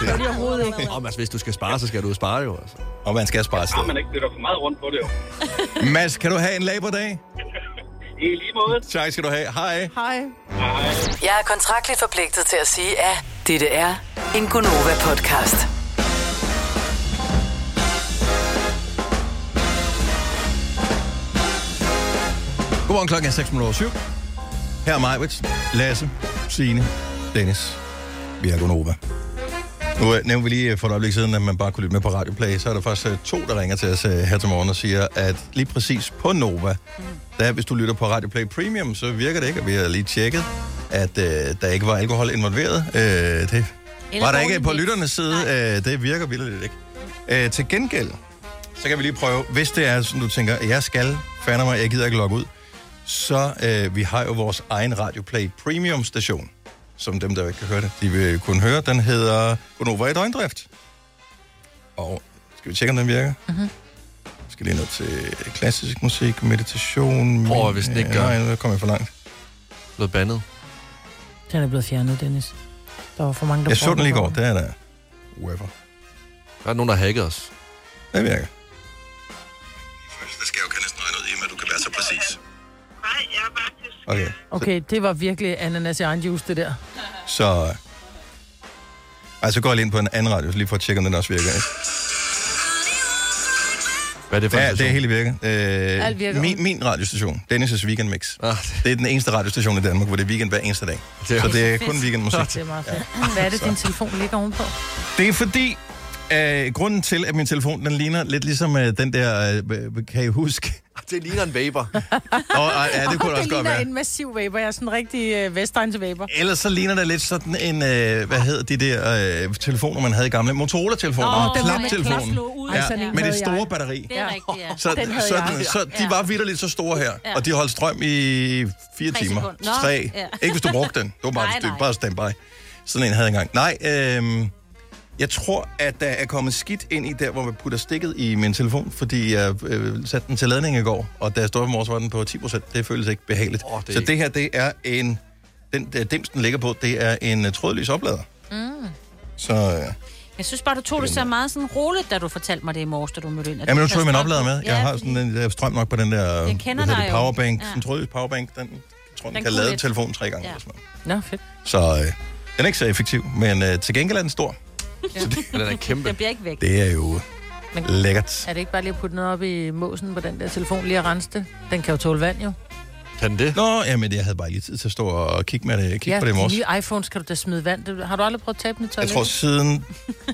Det er det overhovedet ikke. Om, altså, hvis du skal spare, så skal du jo spare jo. Altså. Og man skal spare Har man sted. ikke flytter for meget rundt på det jo. [laughs] Mads, kan du have en laberdag? [laughs] I lige måde. Tak skal du have. Hej. Hej. Jeg er kontraktligt forpligtet til at sige, at dette er en Gunova-podcast. Godmorgen klokken er 6.07. Her er Majwitz, Lasse, Signe, Dennis. Vi er Gunova. Nu øh, nævnte vi lige for et øjeblik siden, at man bare kunne lytte med på Radio Play. Så er der faktisk øh, to, der ringer til os øh, her til morgen og siger, at lige præcis på Nova, Mm. der hvis du lytter på Radio Play Premium, så virker det ikke, og vi har lige tjekket, at øh, der ikke var alkohol involveret. Øh, det var der ikke på dårlig mix. lytternes side. Øh, det virker vildt lidt ikke. Øh, til gengæld, så kan vi lige prøve, hvis det er sådan, du tænker, jeg skal, fander mig, jeg gider ikke logge ud, så øh, vi har jo vores egen Radio Play Premium station, som dem, der ikke kan høre det, de vil kunne høre. Den hedder Gonova i døgndrift. Og skal vi tjekke, om den virker? Mhm. Mm-hmm. skal lige ned til klassisk musik, meditation... øh, Prøv at, hvis den ikke gør. Nej, nu kommer jeg for langt. Blevet bandet. Den er blevet fjernet, Dennis. Der var for mange, der Jeg så brugte den lige i den. går, der er der. Whatever. Der er nogen, der har hacket os. Det virker. Det skal jo kan næsten regne ud i, at du kan være så præcis. Nej, jeg er faktisk... Okay, Okay, det var virkelig ananas i egen juice, det der. så... Ej, så går jeg lige ind på en anden radio, lige for at tjekke, om den også virker. Ikke? Hvad er det for Ja, en det er station? hele virker. Øh, Alt virker. Min, min radiostation, Dennis' Weekend Mix. Ah, Det er den eneste radiostation i Danmark, hvor det er weekend hver eneste dag. Det er- Så det er Fedt. kun weekendmusik. Det er meget fedt. Hvad er det, din telefon ligger ovenpå? Det er fordi, øh, grunden til, at min telefon den ligner lidt ligesom øh, den der, øh, kan I huske? Ah, det ligner en [laughs] vaper. Og, øh, ja, det kunne det det også godt ligner være. en massiv vaper. Jeg er sådan en rigtig øh, Vestegns vaper. Ellers så ligner det lidt sådan en, øh, hvad hedder de der øh, telefoner, man havde i gamle? Motorola-telefoner. Nå, den der med klaptelefonen. klap slå ud. Ja, Ej, sådan en med det Altså, havde store jeg. batteri. Det er rigtigt, [laughs] ja. Så, Den havde sådan, jeg. så de Ja. var vidderligt så store her, Ja. og de holdt strøm i fire Tre timer. sekunder. Nå, Tre. ja. Ikke hvis du brugte den. Det var bare, Nej, nej, nej. nej. bare standby. Sådan en havde jeg engang. Nej, øhm, jeg tror, at der er kommet skidt ind i der, hvor man putter stikket i min telefon, fordi jeg øh, satte den til ladning i går, og da jeg stod op i morges, var den på 10%. Det føles ikke behageligt. Åh, det er så ikke- det her, det er en... Den der dims, den ligger på, det er en øh, trådløs oplader. Mm. Så... Øh, Jeg synes bare, du tog det så meget sådan roligt, da du fortalte mig det i morges, da du mødte ind. at Jamen, du nu tog jeg kan min strømme. oplader med. Ja, Jeg har fordi- sådan den der strøm nok på den der Jeg hvad kender hedder dig det, jo. powerbank. Ja. Sådan en trådløs powerbank, den jeg tror, den, Den kan kunne lade lidt. telefonen tre gange. Ja. Ja. Nå, fedt. Så øh, den er ikke så effektiv, men øh, til gengæld er den stor. Men den er kæmpe. Den bliver ikke væk. Det er jo Men- lækkert. Er det ikke bare lige at putte noget op i måsen på den der telefon, lige at rense det? Den kan jo tåle vand, jo. Kan den det? Nå, jamen, jeg havde bare lige tid til at stå og kigge, med det, kigge på det i de morges. nye iPhones kan du da smide vand. Det, har du aldrig prøvet at tabe den i Jeg toilettet? tror, siden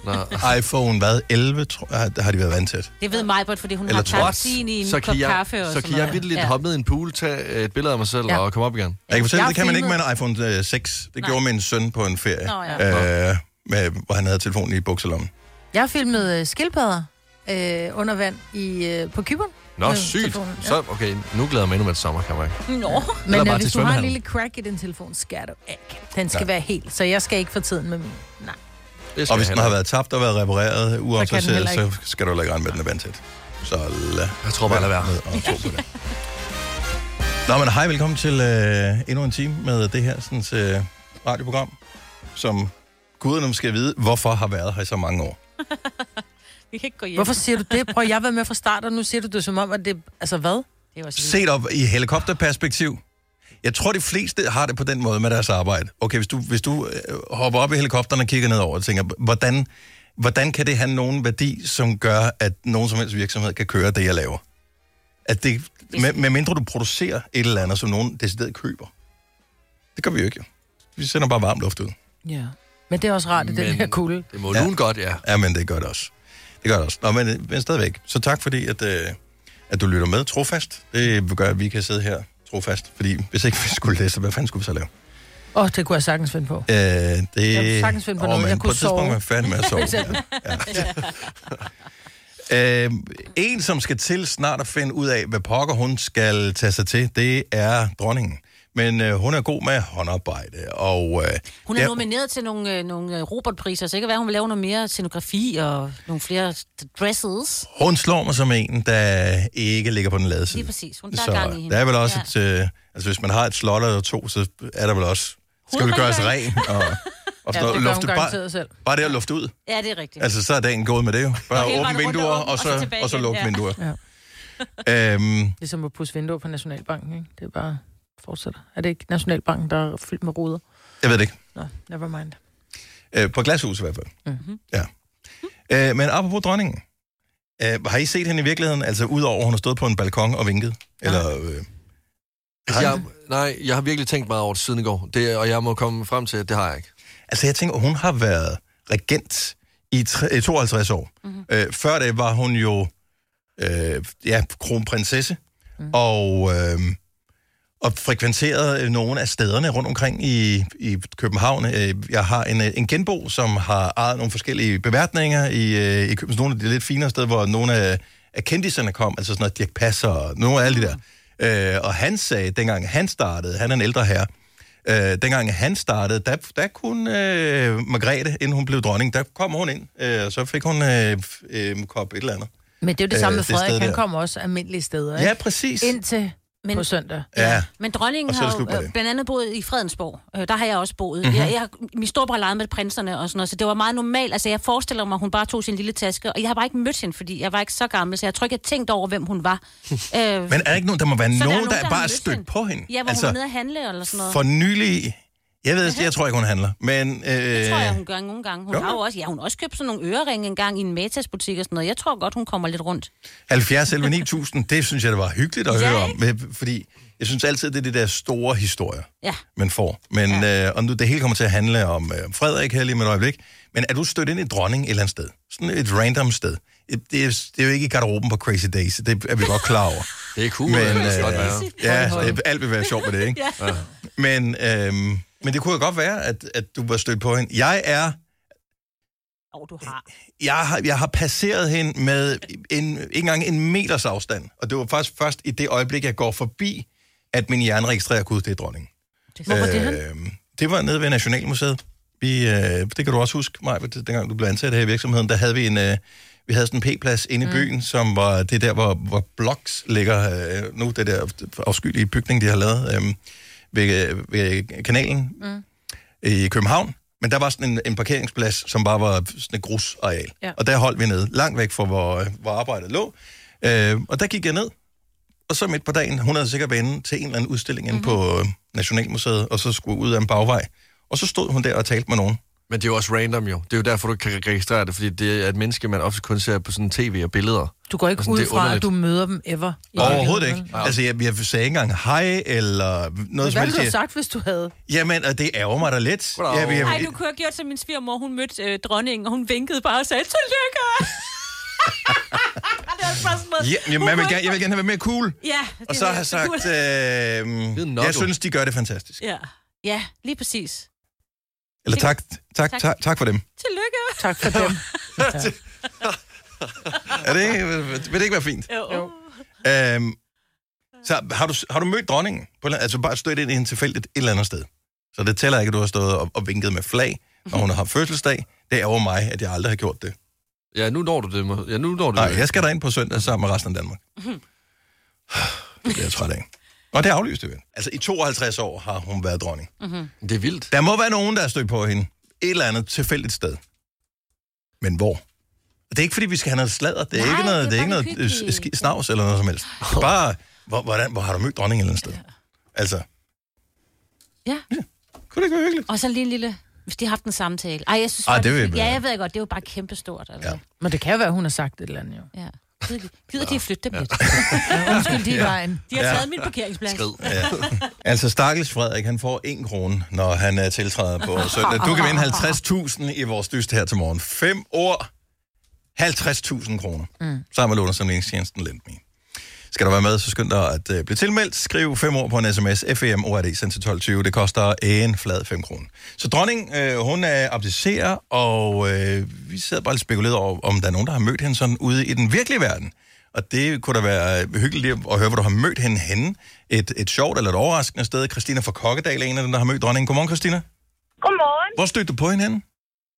Nå. [laughs] iPhone, hvad, 11, tror, har, har de været vandtæt. Det ved Majbert, fordi hun Eller har tror- tabt sin i en så kop kan jeg, kaffe og så sådan kan jeg noget. vildt lidt Ja. hoppe ned i en pool, tage et billede af mig selv Ja. ja. og komme op igen. Jeg kan fortælle, Jeg det kan man ikke med filmede- en iPhone øh, 6. Det Nej. gjorde min søn på en ferie, Nå, øh, med, hvor han havde telefonen i bukselommen. Jeg har filmet øh, skildpadder øh, under vand i, øh, på Kyberen. Nå, med sygt. telefonen. Ja. Så, okay, nu glæder jeg mig endnu med et sommerkammerat. Nå. Men bare øh, til hvis du har en svømmehallen. lille crack i din telefon, skær du ikke. Den skal være helt, så jeg skal ikke få tiden med min. Nej. Det skal Og hvis jeg den har have. været tabt og været repareret uautoriseret, heller så skal du heller ikke regne med, at den er vandtæt. Så lad Jeg tror bare, lad være. med at tro på det. Nå, men hej, velkommen til øh, endnu en time med det her sådan, øh, radioprogram, som guderne måske vide, hvorfor har været her i så mange år. Vi kan ikke gå hjem. Hvorfor siger du det? Prøv, jeg har været med fra start, og nu siger du det som om, at det... Altså hvad? Det var så vildt. Set op i helikopterperspektiv, jeg tror, de fleste har det på den måde med deres arbejde. Okay, hvis du, hvis du øh, hopper op i helikopteren og kigger nedover og tænker, hvordan, hvordan kan det have nogen værdi, som gør, at nogen som helst virksomhed kan køre det, jeg laver? At det, med, med mindre du producerer et eller andet, som nogen decideret køber. Det gør vi jo ikke, jo. Vi sender bare varm luft ud. Ja. Men det er også rart, at den Men- her kulde. Det må lun godt, ja. Ja, men det gør det også. Det gør det også. Nå, men, øh, men stadigvæk. Så tak fordi, at, øh, at du lytter med trofast. Det gør, at vi kan sidde her trofast. Fordi hvis ikke vi skulle det, så hvad fanden skulle vi så lave? Åh, oh, det kunne jeg sagtens finde på. Øh, det... Jeg kunne sagtens finde på noget. men Jeg på kunne et tidspunkt sove. var jeg færdig med at [laughs] sove. ja. øh, en, som skal til snart at finde ud af, hvad pokker hun skal tage sig til, det er dronningen. Men øh, hun er god med håndarbejde, og... Øh, Hun er ja, ja. nomineret til nogle, øh, nogle øh, Robert-priser, så det kan være, hun vil lave noget mere scenografi og nogle flere dresses. Hun slår mig som en, der ikke ligger på den lade side. Lige præcis. Hun- der er gang i hende. Der er vel også Ja. et... Øh, altså, hvis man har et slot eller to, så er der vel også... Skal det gøres ren? Hovedrengøring. [laughs] Og, og Ja, stå- det gør hun lufte- bare, garanteret selv. bare det at lufte ud. Ja, det er rigtigt. Altså, så er dagen gået med det [laughs] jo. Bare hele åbne vejen rundt vinduer, og åbne, og så, og så igen. lukke Ja. vinduer. Ja. Øhm, Ligesom at pusse vinduer på Nationalbanken, ikke? Det er bare fortsætter. Er det ikke Nationalbanken, der er fyldt med ruder? jeg ved det ikke. Nå, never mind. Øh, på glashus i hvert fald. Mm-hmm. Ja. Øh, men apropos dronningen. Øh, har I set hende i virkeligheden? Altså, udover at hun har stået på en balkon og vinket? Eller, øh, Altså, jeg, nej, jeg har virkelig tænkt meget over det siden i går, det, og jeg må komme frem til, at det har jeg ikke. altså, jeg tænker, hun har været regent i tre- øh, 52 år. Mm-hmm. Øh, før det var hun jo øh, ja, kronprinsesse. Mm. Og... Øh, og frekventerede øh, nogle af stederne rundt omkring i, i København. Øh, Jeg har en, øh, en genbo, som har ejet nogle forskellige beværtninger i, øh, i København. Nogle af de lidt finere steder, hvor nogle af, af kendiserne kom, altså sådan noget Dirk Passer og nogle af alle de der. Øh, Og han sagde, dengang han startede, han er en ældre herre, øh, dengang han startede, der, der kunne øh, Margrethe, inden hun blev dronning, der kom hun ind, øh, og så fik hun øh, f- øh, en kop et eller andet. Mm. Men det er jo det Øh, samme med det sted Frederik. Han der. kommer også almindelige steder, ikke? Ja, præcis. Indtil Men... Men- på søndag. Ja. Men Og dronningen så er det har jo slut med det. Mhm. øh, blandt andet boet i Fredensborg. Øh, der har jeg også boet. Mm-hmm. Jeg, jeg, min storebror legede med prinserne og sådan noget, så det var meget normalt. Altså, jeg forestiller mig, at hun bare tog sin lille taske, og jeg har bare ikke mødt hende, fordi jeg var ikke så gammel, så jeg tror ikke, jeg tænkte over, hvem hun var. [laughs] øh, Men er der ikke nogen, der må være nogen, jo der, nogen, der der bare har er mødt stødt hende. på hende? ja, hvor altså, hun var nede at handle eller sådan noget. for nylig... Jeg ved, jeg tror ikke, hun handler, men... Øh, Det tror jeg, hun gør nogle gange. Hun Jo. jo. har jo også, ja, hun har også købt sådan nogle øreringe engang i en Matas-butik og sådan noget. Jeg tror godt, hun kommer lidt rundt. 70 11 9000, det synes jeg, det var hyggeligt at Ja, høre om. øh, Fordi jeg synes altid, det er det der store historier, Ja. man får. Men ja. øh, om nu det hele kommer til at handle om øh, Frederik her lige med et øjeblik. Men er du stødt ind i dronning et eller andet sted? Sådan et random sted. Et- Det er, det er jo ikke i garderoben på Crazy Days, det er vi godt klar over. [laughs] Det er cool, Men, men, det øh, kan godt være. ja, det, alt vil være sjovt med det, ikke? [laughs] ja. men, øh, men det kunne jo godt være, at, at du var stødt på hende. Jeg er Åh, oh, du har. jeg har, jeg har passeret hende med en, ikke engang en meters afstand. Og det var faktisk først i det øjeblik, jeg går forbi, at min hjerne registrerer, gud, det er dronningen. Hvor var det han? Øh, det var nede ved Nationalmuseet. Vi, øh, det kan du også huske, Maj, for det- dengang du blev ansat her i virksomheden, der havde vi en... Øh, vi havde sådan en P-plads inde i byen, som var det der, hvor, hvor Blocks ligger øh, nu, det der afskyelige bygning, de har lavet øh, ved, øh, ved kanalen mm. i København. Men der var sådan en, en parkeringsplads, som bare var sådan et grusareal. Ja. Og der holdt vi ned, langt væk fra, hvor, øh, hvor arbejdet lå. Øh, og der gik jeg ned, og så midt på dagen, hun havde sikkert været inde til en eller anden udstilling inde mm-hmm. Mhm. på øh, Nationalmuseet, og så skulle ud af en bagvej. Og så stod hun der og talte med nogen. Men det er jo også random jo. Det er jo derfor, du kan registrere det, fordi det er et menneske, man ofte kun ser på sådan tv og billeder. Du går ikke Altså, det ud er fra, at underligt. du møder dem ever. i Overhovedet virkeligheden, ikke. vel? Altså, jeg, jeg sagde ikke engang hej, eller noget Men som hvad ville helst. du have Jeg- sagt, hvis du havde? Jamen, og det ærger mig da lidt. Goddag. Jeg, jeg, Nej, du kunne have gjort som min svigermor. Hun mødte øh, dronningen, og hun vinkede bare og sagde, tillykke! [laughs] det var bare sådan noget. ja, jamen, jeg, vil gerne, jeg vil gerne have været mere cool. Ja, Og så har jeg sagt, øh, nok, jeg du. synes, de gør det fantastisk. Ja. ja, lige præcis. Eller tak, tak, Tak. tak, tak for [laughs] dem. Tillykke! Tak for [laughs] dem. Er det, ikke- vil det ikke være fint? Jo. jo. Øhm, så har du, har du mødt dronningen? På, en- altså bare stødt ind i hende tilfældigt et eller andet sted. Så det tæller ikke, at du har stået og, og vinket med flag, når hun har haft fødselsdag. Det er over mig, at jeg aldrig har gjort det. Ja, nu når du det. må- Ja, nu når du Nej, det. jeg skal derind på søndag sammen med resten af [laughs] Danmark. Det er jeg træt af. Og det er aflyst, det vel. Altså i 52 år har hun været dronning. Mhm. Det er vildt. Der må være nogen, der er stødt på hende. Et eller andet tilfældigt sted. Men hvor? Og det er ikke, fordi vi skal have noget sladder. Det er Nej, ikke noget, det det er er ikke bare noget det øh, hyggelige. ski- snavs eller noget som helst. Det er Bare, hvor, hvordan, hvor har du mødt dronningen et eller andet sted? Altså, Ja, kunne det ikke være hyggeligt? og så lige en lille... Hvis de har haft en samtale. Ej, jeg synes Ej, faktisk- det vil jeg- Ja, jeg ved godt, det er jo bare kæmpestort. Altså. Ja. Ja. Men det kan jo være, hun har sagt et eller andet, jo. ja. Gider, gider de at flytte dem lidt? Ja, undskyld, de er i vejen. De har Ja. taget min parkeringsplads. Skrid. Ja. Altså, stakkels Frederik, han får 1 krone, når han er tiltræder på søndag. Du [laughs] kan vinde 50.000 i vores dyst her til morgen. Fem år, 50.000 kroner. Mm. Sammen med lånersamlingstjenesten Lendme. Skal du være med, så skynd dig at øh, blive tilmeldt. Skriv fem ord på en sms. E FEM ORD sendt til 1220. Det koster en flad 5 kroner. Så dronning, øh, hun er abdicerer, og øh, vi sidder bare lidt spekuleret over, om der er nogen, der har mødt hende sådan ude i den virkelige verden. Og det kunne da være øh, hyggeligt lige at høre, hvor du har mødt hende henne. Et, et sjovt eller et overraskende sted. Christina fra Kokkedal er en af dem, der har mødt dronningen. Godmorgen, Christina. Godmorgen. Hvor stødte du på hende henne?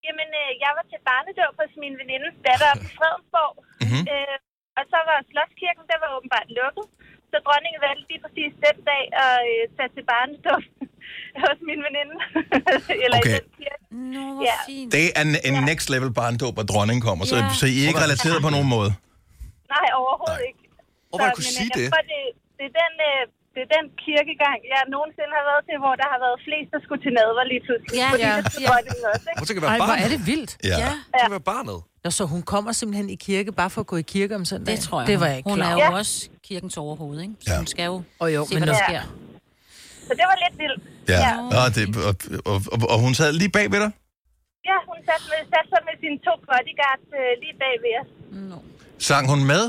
Jamen, øh, jeg var til barnedåb hos min venindes datter [laughs] oppe i Fredensborg. Mhm. Øh, og så var Slotskirken, der var åbenbart lukket. Så dronningen valgte lige præcis den dag at øh, tage til barnedåb [laughs] hos min veninde. [laughs] Eller i Okay. den kirke. Nå, hvor Ja. fint. Det er en, en next level barndåb, hvor dronningen kommer, så, Ja. så I er ikke relateret på nogen måde. Nej, overhovedet ikke. Hvor var jeg Så, kunne men øh, sige jeg det? Tror, det, det, er den, øh, det er den kirkegang, jeg nogensinde har været til, hvor der har været flest, der skulle til nadver lige pludselig. Ja, Fordi ja, det skulle ja. dronningen også, ikke? Hvor tænker Ej, være hvor barnet? er det vildt. Ja. ja. Ja. Det kan være barnet. Nå, så hun kommer simpelthen i kirke bare for at gå i kirke om søndagen? Det tror jeg. Det var jeg ikke Hun klar er over. jo også kirkens overhoved, ikke? Så Ja. ja. hun skal jo Åh, jo, se, men hvad der nu- sker. Så det var lidt vildt. ja. Ja. Nå, det, og, og, og, og hun sad lige bag ved dig. Ja, hun satte, med, satte sig med sine to bodyguards øh, lige bag ved os. Nå. Sang hun med?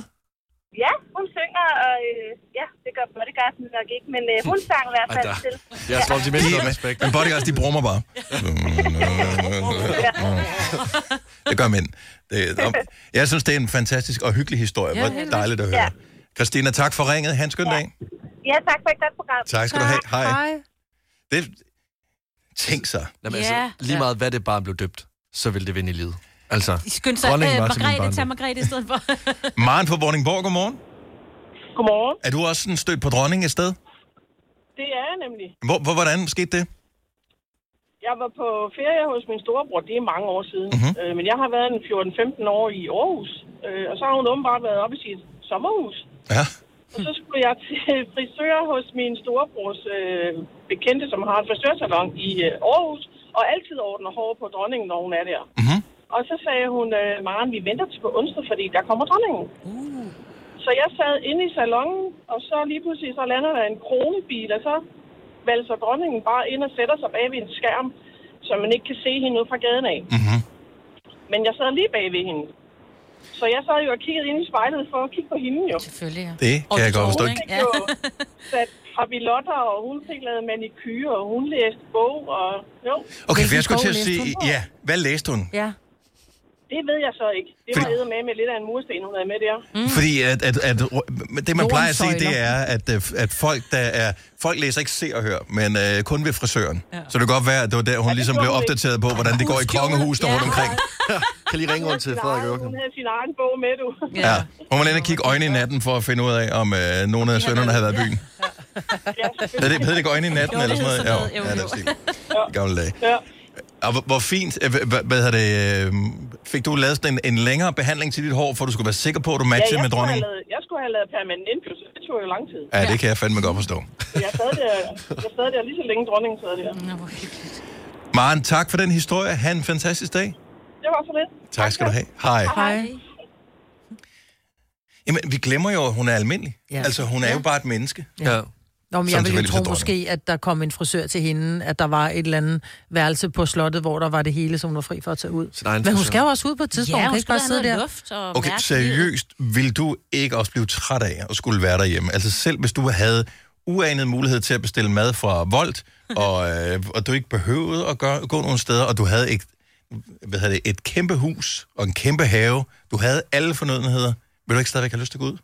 Ja, hun synger, og øh, ja, det gør bodyguards nok ikke, men øh, hun sang i hvert Ej, fald der- til. Jeg slår til mindre respekt. Men bodyguards, de brummer bare. [laughs] Det gør mænd. Det, nå, jeg synes, det er en fantastisk og hyggelig historie. Ja, Hvor helt vildt. dejligt at høre. Ja. Christina, tak for ringet. Han skøn dag. Ja, tak for et godt program. Tak skal du have. Hej. Hej. Det, tænk sig. Jamen, Ja. altså, lige meget hvad det barn blev døbt, så vil det vinde i livet. Altså, Skynd sig, øh, Dronningen var til min Margrethe, barndom. tag Margrethe i stedet for. Maren fra Vordingborg, godmorgen. Godmorgen. Er du også sådan stødt på dronning et sted? Det er jeg nemlig. Hvor, hvor, hvordan skete det? Jeg var på ferie hos min storebror, det er mange år siden. Mhm. Mm-hmm. Øh, men jeg har været en 14-15 år i Aarhus, øh, og så har hun åbenbart været oppe i sit sommerhus. Ja. Og så skulle jeg til [laughs] frisør hos min storebrors øh, bekendte, som har en frisørsalon i øh, Aarhus, og altid ordner hår på dronningen, når hun er der. Mhm. Og så sagde hun, øh, Maren, vi venter til på onsdag, fordi der kommer dronningen. Uh. Så jeg sad inde i salongen, og så lige pludselig så lander der en kronebil, og så valser dronningen bare ind og sætter sig bag ved en skærm, så man ikke kan se hende ud fra gaden af. Mhm. Men jeg sad lige bag ved hende. Så jeg sad jo og kiggede ind i spejlet for at kigge på hende jo. Selvfølgelig, ja. Det kan jeg godt forstå. ikke? fik jo sat habilotter, og hun fik lavet manikyre, og hun læste bog, og jo, Okay, for Hvilken jeg skulle til at bog sige, læste ja, hvad læste hun? Ja. det ved jeg så ikke. Det var Fordi- Fordi... med med lidt af en mursten, hun havde med der. Mm. Fordi at, at, at, det, man plejer at sige, det Jordens er, at, øh, at folk, der er, folk læser ikke se og hør, men øh, kun ved frisøren. Ja. Så det kan godt være, at det var der, hun ja, det ligesom gjorde blev hun ikke. opdateret på, hvordan det går i kongehus der rundt omkring. kan lige ringe rundt til Frederik Nej, Joachim. hun havde sin egen bog med, du. Ja. Hun var lige inde og kigge øjnene i natten for at finde ud af, om øh, nogen af sønnerne havde været i byen. Ja. det, hedder det ikke øjne i natten, Jo, eller det sådan hed noget? ja, sådan noget. Jo, det jo. er stil. I gamle dage. Ja. Og hvor, hvor fint, øh, hvad, hvad hedder det, øh, fik du lavet sådan en, en længere behandling til dit hår, for du skulle være sikker på, at du Ja, matchede jeg, skulle med dronningen? have lavet, jeg skulle have lavet permanent indflydelse. Det tog jo lang tid. Ja, det kan jeg fandme godt forstå. Så jeg sad der, jeg sad der lige så længe dronningen sad der. Nå, hvor hyggeligt. Maren, tak for den historie. Ha' en fantastisk dag. Det var så lidt. Tak skal du have. Hej. Hej. Jamen, vi glemmer jo, at hun er almindelig. Ja. Ja. Altså, hun er ja. jo bare et menneske. Ja. Nå, men Som jeg ville jo selvfølgelig tro til dronning. måske, at der kom en frisør til hende, at der var et eller andet værelse på slottet, hvor der var det hele, som hun var fri for at tage ud. egen Men hun frisør. skal jo også ud på et tidspunkt. Ja, hun kan hun ikke skulle bare have sidde noget der. luft og Okay, mærke livet. seriøst, vil du ikke også blive træt af at skulle være derhjemme? Altså, selv hvis du havde uanet mulighed til at bestille mad fra Volt, [laughs] og, øh, og du ikke behøvede at gøre, gå nogen steder, og du havde et, hvad hedder det, et kæmpe hus og en kæmpe have, du havde alle fornødenheder, vil du ikke stadigvæk have lyst til at gå ud?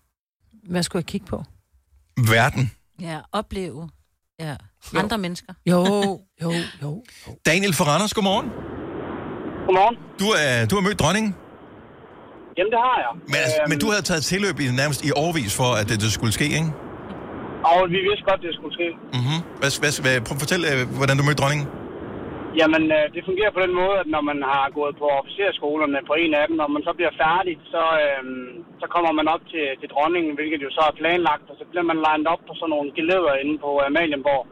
[laughs] Hvad skulle jeg kigge på? Verden. Ja, opleve ja. andre mennesker. Jo, jo, jo. Daniel for Randers, godmorgen. Godmorgen. Du, er, du har mødt dronningen. Jamen, det har jeg. Men, altså, men du havde taget tilløb i nærmest i årvis for, at det, det skulle ske, ikke? Og vi vidste godt, det skulle ske. Mm-hmm. Hvad, hvad, hvad, prøv at fortælle, øh, hvordan du mødte dronningen. Jamen, øh, det fungerer på den måde, at når man har gået på officerskolerne på en af dem, når man så bliver færdig, så, øh, så kommer man op til, til dronningen, hvilket jo så er planlagt, og så bliver man lined op på sådan nogle geleder inde på øh, Amalienborg.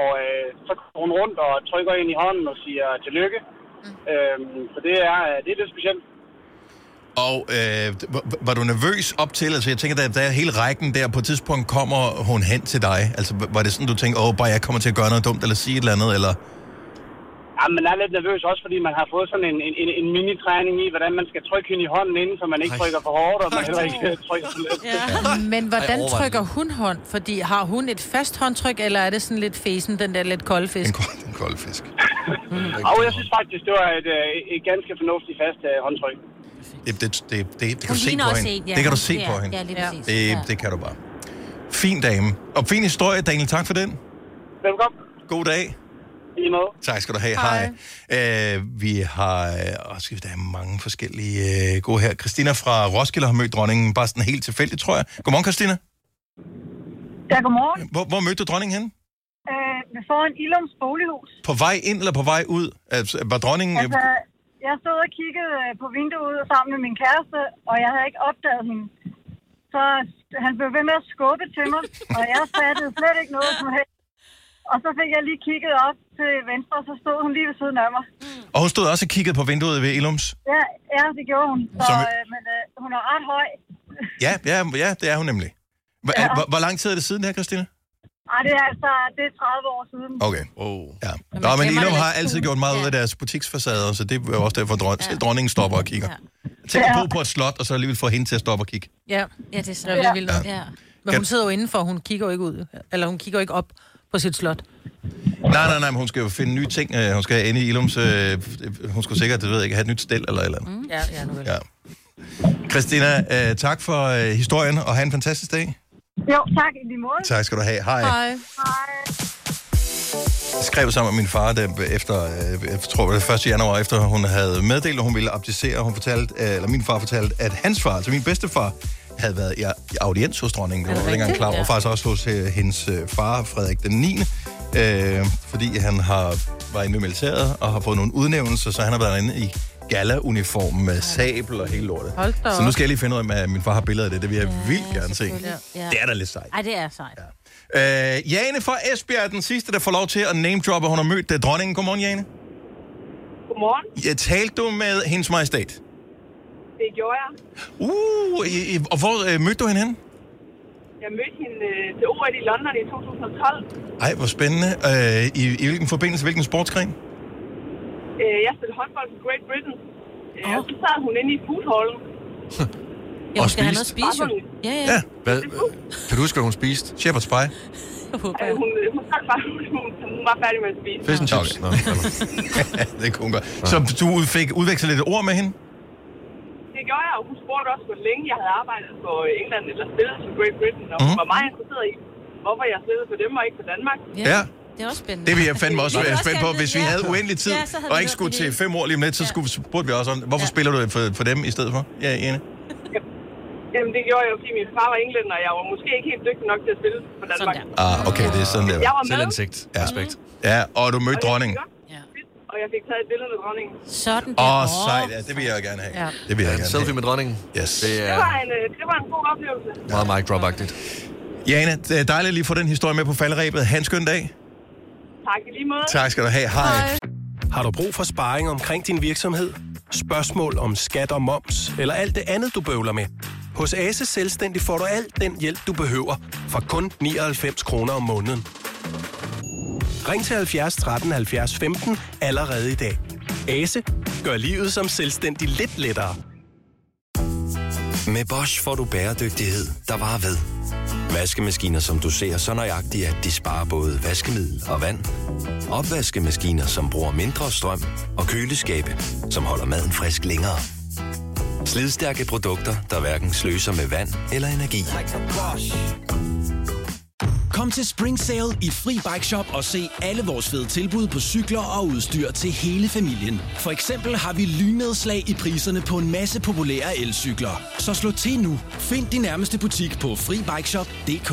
Og øh, så går hun rundt og trykker ind i hånden og siger tillykke. Mm. Øh, så det er, øh, det er lidt specielt. Og øh, var, var du nervøs op til, altså jeg tænker, da, da hele rækken der på et tidspunkt kommer hun hen til dig, altså var det sådan, du tænkte, åh, bare jeg kommer til at gøre noget dumt, eller sige et eller andet, eller... Ja, man er lidt nervøs også, fordi man har fået sådan en, en, en, en mini-træning i, hvordan man skal trykke hende i hånden inden, så man ikke Ej. trykker for hårdt, og man heller ikke trykker for lidt. Ja. Men hvordan Ej, overvej trykker hun hånd? Fordi har hun et fast håndtryk, eller er det sådan lidt fesen, den der lidt kolde fisk? En, kold, en kold [laughs] fisk. Og jeg synes faktisk, det var et, øh, et ganske fornuftigt fast øh, håndtryk. Det, det, det, det, det kan Hun du se ligner på også hende. en, ja. Det kan du se Ja, på hende. Ja, lige Ja. præcis. Det, Ja. det kan du bare. Fin dame. Og fin historie, Daniel. Tak for den. Velkommen. God dag. I lige måde. Tak skal du have. Hej. Hej. Hej. Øh, vi har øh, også, der er mange forskellige øh, gode her. Christina fra Roskilde har mødt dronningen, bare sådan helt tilfældigt, tror jeg. Godmorgen, Christina. Ja, godmorgen. Hvor, hvor mødte du dronningen henne? Øh, foran Ilums bolighus. På vej ind eller på vej ud? Altså, var dronningen... Altså, jeg stod og kiggede øh, på vinduet sammen med min kæreste, og jeg havde ikke opdaget hende. Så han blev ved med at skubbe til mig, og jeg fattede slet ikke noget som helst. Og så fik jeg lige kigget op til venstre, og så stod hun lige ved siden af mig. Og hun stod også og kiggede på vinduet ved Ilums. Ja, ja det gjorde hun. Så, Som- øh, men øh, hun er ret høj. Ja, ja, ja det er hun nemlig. Hva, ja. hvor, hvor lang tid er det siden det her, Christina? Ej, det er altså det er 30 år siden. Okay. Oh. Ja. man Nå, men glemmer Ilum det har lidt. altid gjort meget ud af Ja. deres butiksfacader, så det er jo også derfor, at dron- Ja. selv dronningen stopper og kigger. Tænk at Ja. bo på et slot, og så alligevel få hende til at stoppe og kigge. Ja, Ja, det er så. det er lidt vildt. nok. Ja. Men hun sidder jo indenfor, hun kigger jo ikke ud. Eller hun kigger jo ikke op på sit slot. Nej, nej, nej, men hun skal jo finde nye ting. Øh, Hun skal ind i Ilums... Øh, hun skulle sikkert, det ved jeg ikke, have et nyt stel eller et eller andet. Ja, ja, nu vel. Ja. Christina, øh, tak for øh, historien, og have en fantastisk dag. Jo, tak i lige måde. Tak skal du have. Hej. Hej. Jeg skrev sammen med min far, der efter, øh, jeg tror det var 1. januar, efter hun havde meddelt, at hun ville abdicere, hun fortalte, øh, eller min far fortalte, at hans far, altså min bedstefar, havde været i, i audiens hos dronningen. Det var jeg ikke engang rigtigt? klar over. Ja. Faktisk også hos øh, hendes øh, far, Frederik den 9., øh, fordi han har, var inde i militæret og har fået nogle udnævnelser, så han har været inde i gala-uniform med sabel og hele lortet. Hold da Så nu op. skal jeg lige finde ud af, om at min far har billeder af det. Det vil jeg ja, vildt gerne se. selvfølgelig. Ja. Det er da lidt sejt. Ej, det er sejt. Øh, Jane fra Esbjerg er den sidste, der får lov til at name-droppe. Hun har mødt uh, dronningen. Godmorgen, Jane. Godmorgen. Ja, talte du med hendes majestæt? Det gjorde jeg. Uh, i, i, og hvor uh, mødte du hende henne? Jeg mødte hende øh, til OL i London i 2012. Ej, hvor spændende. Øh, i, I hvilken forbindelse, hvilken sportsgren? Øh, jeg spillede håndbold for Great Britain. Øh, Åh. Og så sad hun inde i foodhallen. Ja, hun skal have spist. noget at spise, jo. Ja, ja. Ja. Hvad, kan du huske, hvad hun spiste? Shepherd's pie. [laughs] Jeg håber, Øh, jeg. hun, hun, sad bare, [laughs] hun, hun var færdig med at spise. Fish and chips? Okay. Nå, [laughs] det kunne hun godt. Så du fik udvekslet lidt ord med hende? Det gjorde jeg, og hun spurgte også, hvor længe jeg havde arbejdet på England eller spillet for Great Britain. Og hun Mhm. var meget interesseret i, hvorfor jeg spillede for dem og ikke for Danmark. Ja. Det er også spændende. Det vil jeg fandme [laughs] også Vi vil være også spændt på. gerne vide, Hvis vi ja. havde uendelig tid, Ja, så havde og vi ikke hørt skulle det til hele. fem år lige om lidt, så Ja. skulle, spurgte vi også om, hvorfor Ja. spiller du for, for dem i stedet for? Ja, Jane. Jamen, det gjorde jeg jo, fordi min far var englænder, og jeg var måske ikke helt dygtig nok til at spille for Danmark. Sådan Ah, okay, det er sådan der. Jeg var med, Selvindsigt. Ja. Respekt. Ja, og du mødte og jeg dronningen. fik godt Ja. fedt, og jeg fik taget et billede med dronningen. Sådan der. Åh, oh, sejt. Ja, det vil jeg jo gerne have. Ja. Ja. Det vil jeg En gerne selfie have. med dronningen. Yes. Det Det er var en, øh, det var en god oplevelse. meget mic drop -agtigt. Jane, det er dejligt lige at få den historie med på faldrebet. Ha' en skøn dag. Tak i lige måde. Tak skal du have. Hej. Hej. Har du brug for sparring omkring din virksomhed? Spørgsmål om skat og moms, eller alt det andet, du bøvler med? Hos Ase Selvstændig får du alt den hjælp, du behøver, for kun 99 kroner om måneden. Ring til 70 13 70 15 allerede i dag. Ase gør livet som selvstændig lidt lettere. Med Bosch får du bæredygtighed, der varer ved. Vaskemaskiner, som du ser så nøjagtigt, at de sparer både vaskemiddel og vand. Opvaskemaskiner, som bruger mindre strøm. Og køleskabe, som holder maden frisk længere. Slidstærke produkter, der hverken sløser med vand eller energi. Kom til Spring Sale i Fri Bike Shop og se alle vores fede tilbud på cykler og udstyr til hele familien. For eksempel har vi lynedslag i priserne på en masse populære elcykler. Så slå til nu. Find din nærmeste butik på FriBikeShop.dk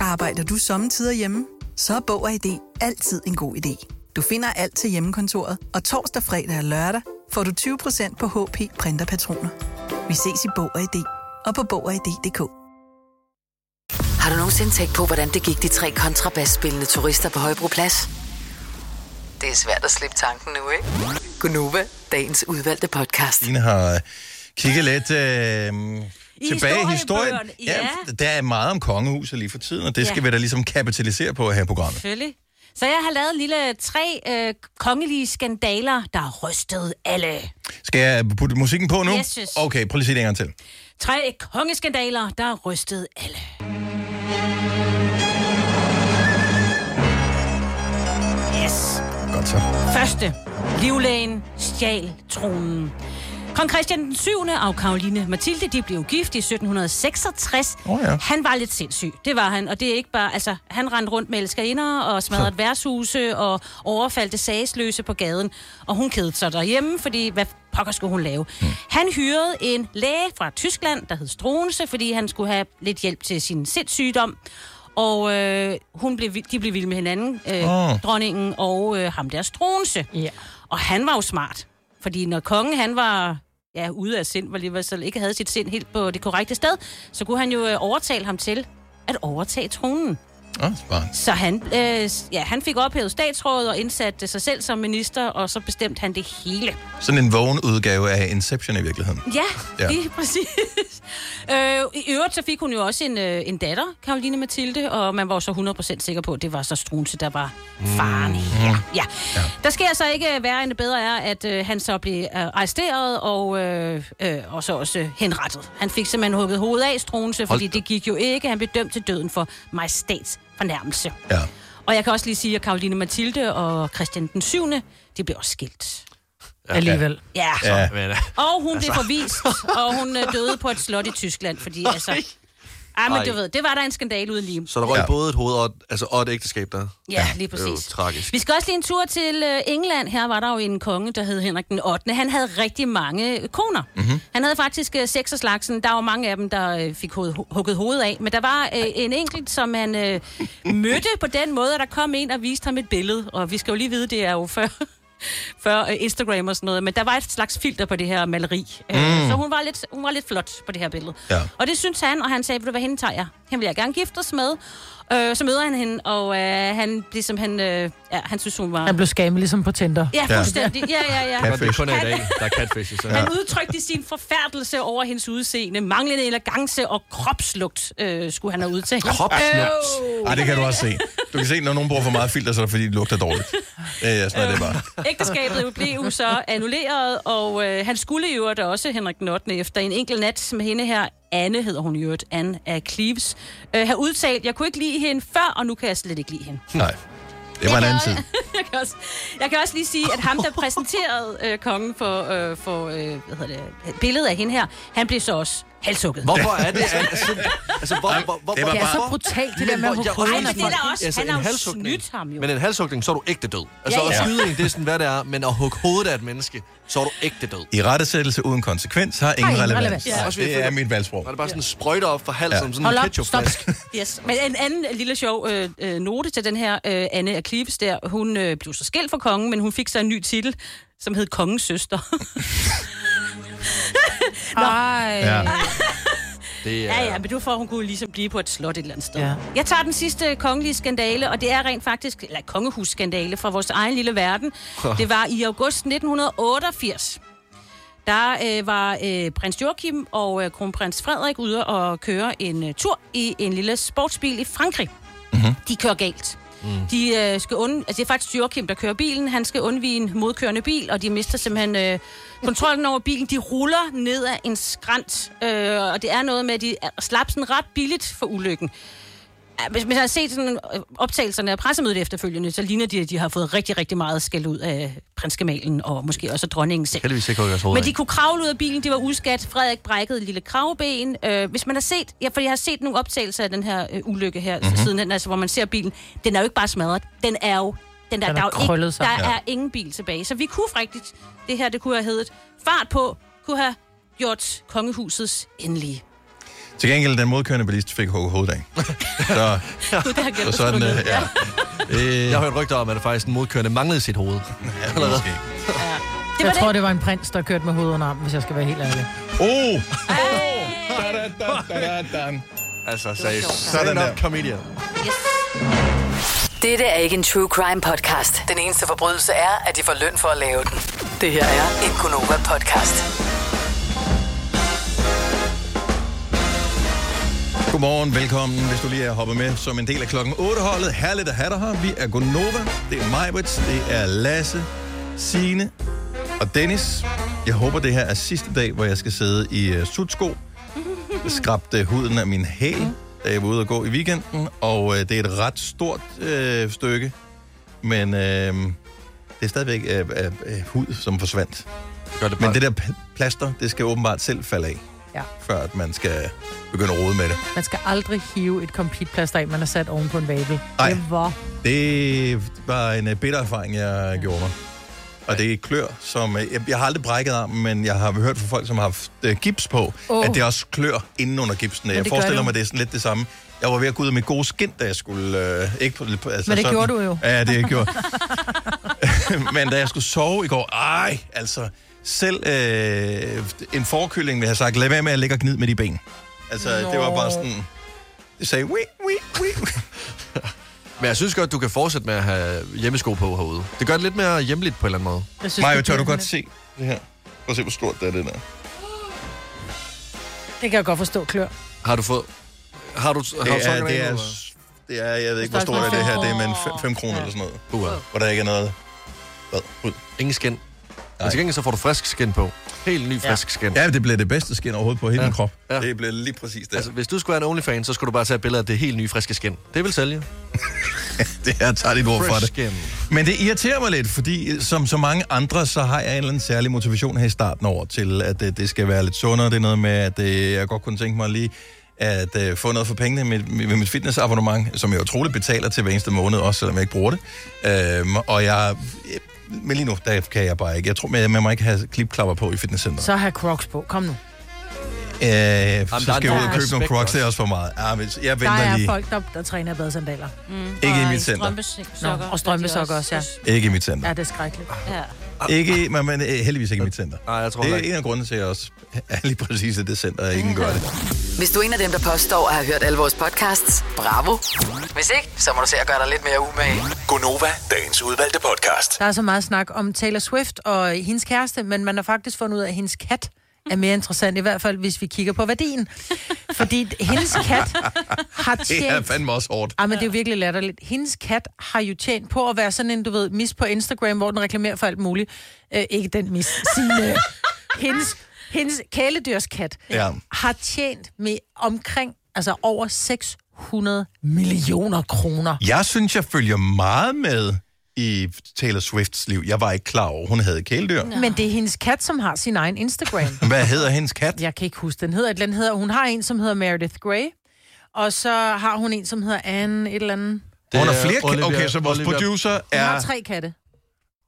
Arbejder du sommetider hjemme? Så er Bog og ID altid en god idé. Du finder alt til hjemmekontoret, og torsdag, fredag og lørdag får du 20% på HP Printerpatroner. Vi ses i Bog og ID og på Bog og ID.dk. Har du nogensinde tænkt på, hvordan det gik de tre kontrabasspillende turister på Højbroplads? Det er svært at slippe tanken nu, ikke? Gunova, dagens udvalgte podcast. Stine har kigget lidt øh, tilbage i historien. historiebøgerne, Ja, ja. der er meget om kongehuset lige for tiden, og det skal Ja. vi da ligesom kapitalisere på her i programmet. Selvfølgelig. Så jeg har lavet en lille tre øh, kongelige skandaler, der har rystet alle. Skal jeg putte musikken på nu? Yes, yes. Okay, prøv lige at sige det en gang til. Tre kongeskandaler, der har rystet alle. Yes. Godt så. Første. Livlægen stjal tronen. Kong Christian den 7. og Karoline Mathilde, de blev gift i 1766. Oh, ja. Han var lidt sindssyg, det var han. Og det er ikke bare, altså, han rendte rundt med elskerinder og smadrede værtshuse og overfaldte sagsløse på gaden. Og hun kedede sig derhjemme, fordi hvad pokker skulle hun lave? Hmm. Han hyrede en læge fra Tyskland, der hed Struense, fordi han skulle have lidt hjælp til sin sindssygdom. Og øh, hun blev, vild- de blev vilde med hinanden, øh, Åh. oh. dronningen og øh, ham der Struense. Ja. Og han var jo smart, fordi når kongen han var ja, ude af sind, var lige ved, så ikke havde sit sind helt på det korrekte sted, så kunne han jo øh, overtale ham til at overtage tronen. Åh, smart. Så han, øh, ja, han fik ophævet statsrådet og indsatte sig selv som minister, og så bestemte han det hele. Sådan en vågen udgave af Inception i virkeligheden. Ja, Ja. ja. lige [laughs] præcis. Øh, I øvrigt så fik hun jo også en, øh, en datter, Karoline Mathilde, og man var jo så 100% sikker på, at det var så Strunse, der var Mm. faren her. Ja. ja. Der sker så ikke øh, værre end det bedre er, at øh, han så blev øh, arresteret og, øh, øh, og så også øh, henrettet. Han fik simpelthen hugget hovedet af Strunse, fordi Hold det gik jo ikke. Han blev dømt til døden for majestats fornærmelse. Ja. Og jeg kan også lige sige, at Karoline Mathilde og Christian den 7. de blev også skilt. Ja. Alligevel. Ja. Ja. Og hun altså. Altså. blev forvist, og hun øh, døde på et slot i Tyskland, fordi altså... Ej, men Ej. du ved, det var der en skandale uden lige. Så der røg ja. både et hoved og et, altså, og et ægteskab der. Ja, lige Det er jo præcis. tragisk. Vi skal også lige en tur til øh, England. Her var der jo en konge, der hed Henrik den 8. Han havde rigtig mange øh, koner. Mhm. Mm-hmm. Han havde faktisk øh, seks af slagsen. Der var mange af dem, der øh, fik hoved, hugget hovedet af. Men der var øh, en enkelt, som han øh, mødte på den måde, at der kom en og viste ham et billede. Og vi skal jo lige vide, det er jo før, [laughs] før øh, Instagram og sådan noget. Men der var et slags filter på det her maleri. Mm. Mm. Så hun var, lidt, hun var lidt flot på det her billede. Ja. Og det synes han, og han sagde, vil du hvad hende tager jeg? Han vil jeg gerne giftes med. Øh, så møder han hende, og øh, han, ligesom han, øh, ja, han synes, hun var... Han blev skamet ligesom på Tinder. Ja, fuldstændig. Ja, ja, ja. Det er kun i Han- dag, der er catfish. Så. Han udtrykte sin forfærdelse over hendes udseende, manglende elegance og kropslugt, øh, skulle han have Øh, udtalt. Kropslugt? Ej, det kan du også se. Du kan se, når nogen bruger for meget filter, så er det fordi, det lugter dårligt. Ja, sådan er det bare. Ægteskabet blev [laughs] jo så annulleret, og øh, han skulle i øvrigt også, Henrik den 8. efter en enkelt nat med hende her, Anne hedder hun i øvrigt, Anne af Cleves, øh, har udtalt, jeg kunne ikke lide hende før, og nu kan jeg slet ikke lide hende. [laughs] Nej, det var en anden tid. jeg, kan også, jeg kan også lige sige, at [laughs] ham, der præsenterede øh, kongen for, øh, for øh, hvad hedder det, billedet af hende her, han blev så også halshugget. Hvorfor er det? Altså, altså hvor, hvor, hvor, det var hvor, bare- Det er så brutalt, det der med at hugge hovedet af folk. Ej, men det er da også- Altså, han har jo snydt ham jo. Men en halshugning, så er du ægte død. Altså, Ja, ja, ja. ja. og skydning, det er sådan, hvad det er, men at hugge hovedet af et menneske, så er du ægte død. I rettesættelse uden konsekvens har ingen ingen relevans. relevans. Ja. Også fordi jeg Det er føler- mit valgsprog. Var det bare sådan en sprøjter op for halsen, Ja. som sådan Hold en op, ketchupflaske? [laughs] Yes. Men en anden lille sjov øh, øh, note til den her øh, Anne af Cleves der. Hun øh, blev så skilt for kongen, men hun fik så en ny titel, som hed Kongens Søster. [laughs] Nå. Ej. Ja. Det er... Ja, ja, men du får, hun kunne ligesom blive på et slot et eller andet sted. Ja. Ja. Jeg tager den sidste kongelige skandale, og det er rent faktisk, eller kongehusskandale fra vores egen lille verden. Det var i august 1988. Der øh, var øh, prins Joachim og øh, kronprins Frederik ude og køre en øh, tur i en lille sportsbil i Frankrig. Mm-hmm. De kører galt. Mm. De øh, skal und... altså, det er faktisk Joachim, der kører bilen. Han skal undvige en modkørende bil, og de mister simpelthen øh, kontrollen over bilen. De ruller ned ad en skrant, øh, og det er noget med, at de er- slap sådan ret billigt for ulykken. Ja, Hvis hvis jeg har set sådan øh, optagelserne af pressemødet efterfølgende, så ligner de, at de har fået rigtig, rigtig meget skæld ud af prinsgemalen, og måske også af dronningen selv. Heldigvis ikke hugget deres hoved Men af. de kunne kravle ud af bilen, det var uskat. Frederik brækkede et lille kravben. Øh, hvis man har set, ja, for jeg har set nogle optagelser af den her øh, ulykke her Mhm. mm-hmm. siden, altså, hvor man ser bilen. Den er jo ikke bare smadret. Den er jo... Den der, Den er der, er, jo krøllet ikke, sammen. der Ja. er ingen bil tilbage. Så vi kunne rigtigt, det her, det kunne have heddet fart på, kunne have gjort kongehusets endelige. Til gengæld, den modkørende bilist fik hugget hovedet af. Så, Gud, det har glemt så at sådan, skrive øh, ned. ja. Jeg har hørt rygter om, at der faktisk en modkørende manglede sit hoved. Allerede. Det jeg tror, det var en prins, der kørte med hovedet under armen, hvis jeg skal være helt ærlig. Oh! Dan. Altså, sagde sjovt, ja. sådan Stand up comedian. Dette er ikke en true crime podcast. Den eneste forbrydelse er, at de får løn for at lave den. Det her er en Gunova podcast. Godmorgen, velkommen, hvis du lige er hoppet med som en del af klokken 8-holdet. Herligt at have dig her. Vi er Gonova, det er Majbrits, det er Lasse, Sine og Dennis. Jeg håber, det her er sidste dag, hvor jeg skal sidde i uh, sutsko. Jeg skrabte huden af min hæl, da jeg var ude og gå i weekenden, og uh, det er et ret stort uh, stykke, men uh, det er stadigvæk uh, uh, uh, hud, som forsvandt. Gør det men det der pl- plaster, det skal åbenbart selv falde af, Ja. før at man skal begynde at rode med det. Man skal aldrig hive et kompletplaster af, man har sat oven på en vabel. Nej. Det var Det var en øh, bitter erfaring, jeg gjorde mig. Og det er klør, som... øh, Jeg, jeg har aldrig brækket armen, men jeg har hørt fra folk, som har haft øh, gips på, Åh. oh. at det også klør inden under gipsen. Men Jeg det gør forestiller det. mig, det er sådan lidt det samme. Jeg var ved at gå ud af mit gode skin, da jeg skulle... Øh, ikke på, på- altså Men det sådan. gjorde du jo. Ja, det [laughs] gjorde [laughs] Men da jeg skulle sove i går... Ej, altså... Selv øh, en forkylling ville have sagt, lad være med at ligge og gnide med de ben. Altså, Nå. det var bare sådan... Det sagde, wii, wii, wii. Men jeg synes godt, du kan fortsætte med at have hjemmesko på herude. Det gør det lidt mere hjemligt på en eller anden måde. Jeg synes, Maja, det tør bliver du godt lidt- se det her? Prøv at se, hvor stort det er, det der. Det kan jeg godt forstå, klør. Har du fået... Har du, har du Det er, sokkerne det af er, nu, s- det er, jeg ved ikke, hvor stort er det her. Det er med 5 kroner eller sådan noget. Uha. Hvor der ikke er noget... Hvad? Ud. Ingen skin. Men til gengæld så får du frisk skin på. Helt ny frisk skin. Ja, det bliver det bedste skin overhovedet på hele Ja. min krop. Ja. Det bliver lige præcis det. Altså, hvis du skulle være en OnlyFan, så skulle du bare tage billeder af det helt nye, friske skin. Det vil sælge. [laughs] det er, tager dit ord for Fresh det. Skin. Men det irriterer mig lidt, fordi øh, som så mange andre, så har jeg en eller anden særlig motivation her i starten over til, at øh, det, det skal være lidt sundere. Det er noget med, at øh, jeg godt kunne tænke mig lige at øh, få noget for pengene med, med mit fitnessabonnement, som jeg utroligt betaler til hver eneste måned, også selvom jeg ikke bruger det. Øhm, og jeg... øh, Men lige nu, der kan jeg bare ikke. Jeg tror, man, man må ikke have klipklapper på i fitnesscenteret. Så har Crocs på. Kom nu. Øh, så der er skal jeg ud en og købe nogle respekt Crocs, også. det er også for meget. Ja, men jeg Der venter er lige. folk, der, der træner i badesandaler. Mm. Ikke i mit center. Strømpesokker. Og strømpesokker også, ja. Ikke i mit center. Ja, det er skrækkeligt. Ja. Ikke, men, men øh, heldigvis ikke i mit center. Nej, jeg tror det er heller ikke. en af grundene til, at jeg også [laughs] er lige præcis i det center, jeg ikke gør det. Hvis du er en af dem, der påstår at have hørt alle vores podcasts, bravo. Hvis ikke, så må du se at gøre dig lidt mere umage. Gonova, dagens udvalgte podcast. Der er så meget snak om Taylor Swift og hendes kæreste, men man har faktisk fundet ud af, at hendes kat er mere interessant, i hvert fald hvis vi kigger på værdien. Fordi hendes [laughs] kat [laughs] har Det er tjent... fandme også hårdt. Ej, Ah, men det er jo virkelig latterligt. Hendes kat har jo tjent på at være sådan en, du ved, mis på Instagram, hvor den reklamerer for alt muligt. Øh, ikke den mis, sine. hendes, hendes kæledyrskat Ja. har tjent med omkring, altså over 600 millioner kroner. Jeg synes, jeg følger meget med i Taylor Swifts liv. Jeg var ikke klar over, hun havde kæledyr. Men det er hendes kat, som har sin egen Instagram. Hvad hedder [laughs] hendes kat? Jeg kan ikke huske, den hedder et eller andet. Hedder, hun har en, som hedder Meredith Grey, og så har hun en, som hedder Anne et eller andet. Det hun har er flere Olivia- Olivia, Okay, så vores Olivia- producer Hun er... har tre katte.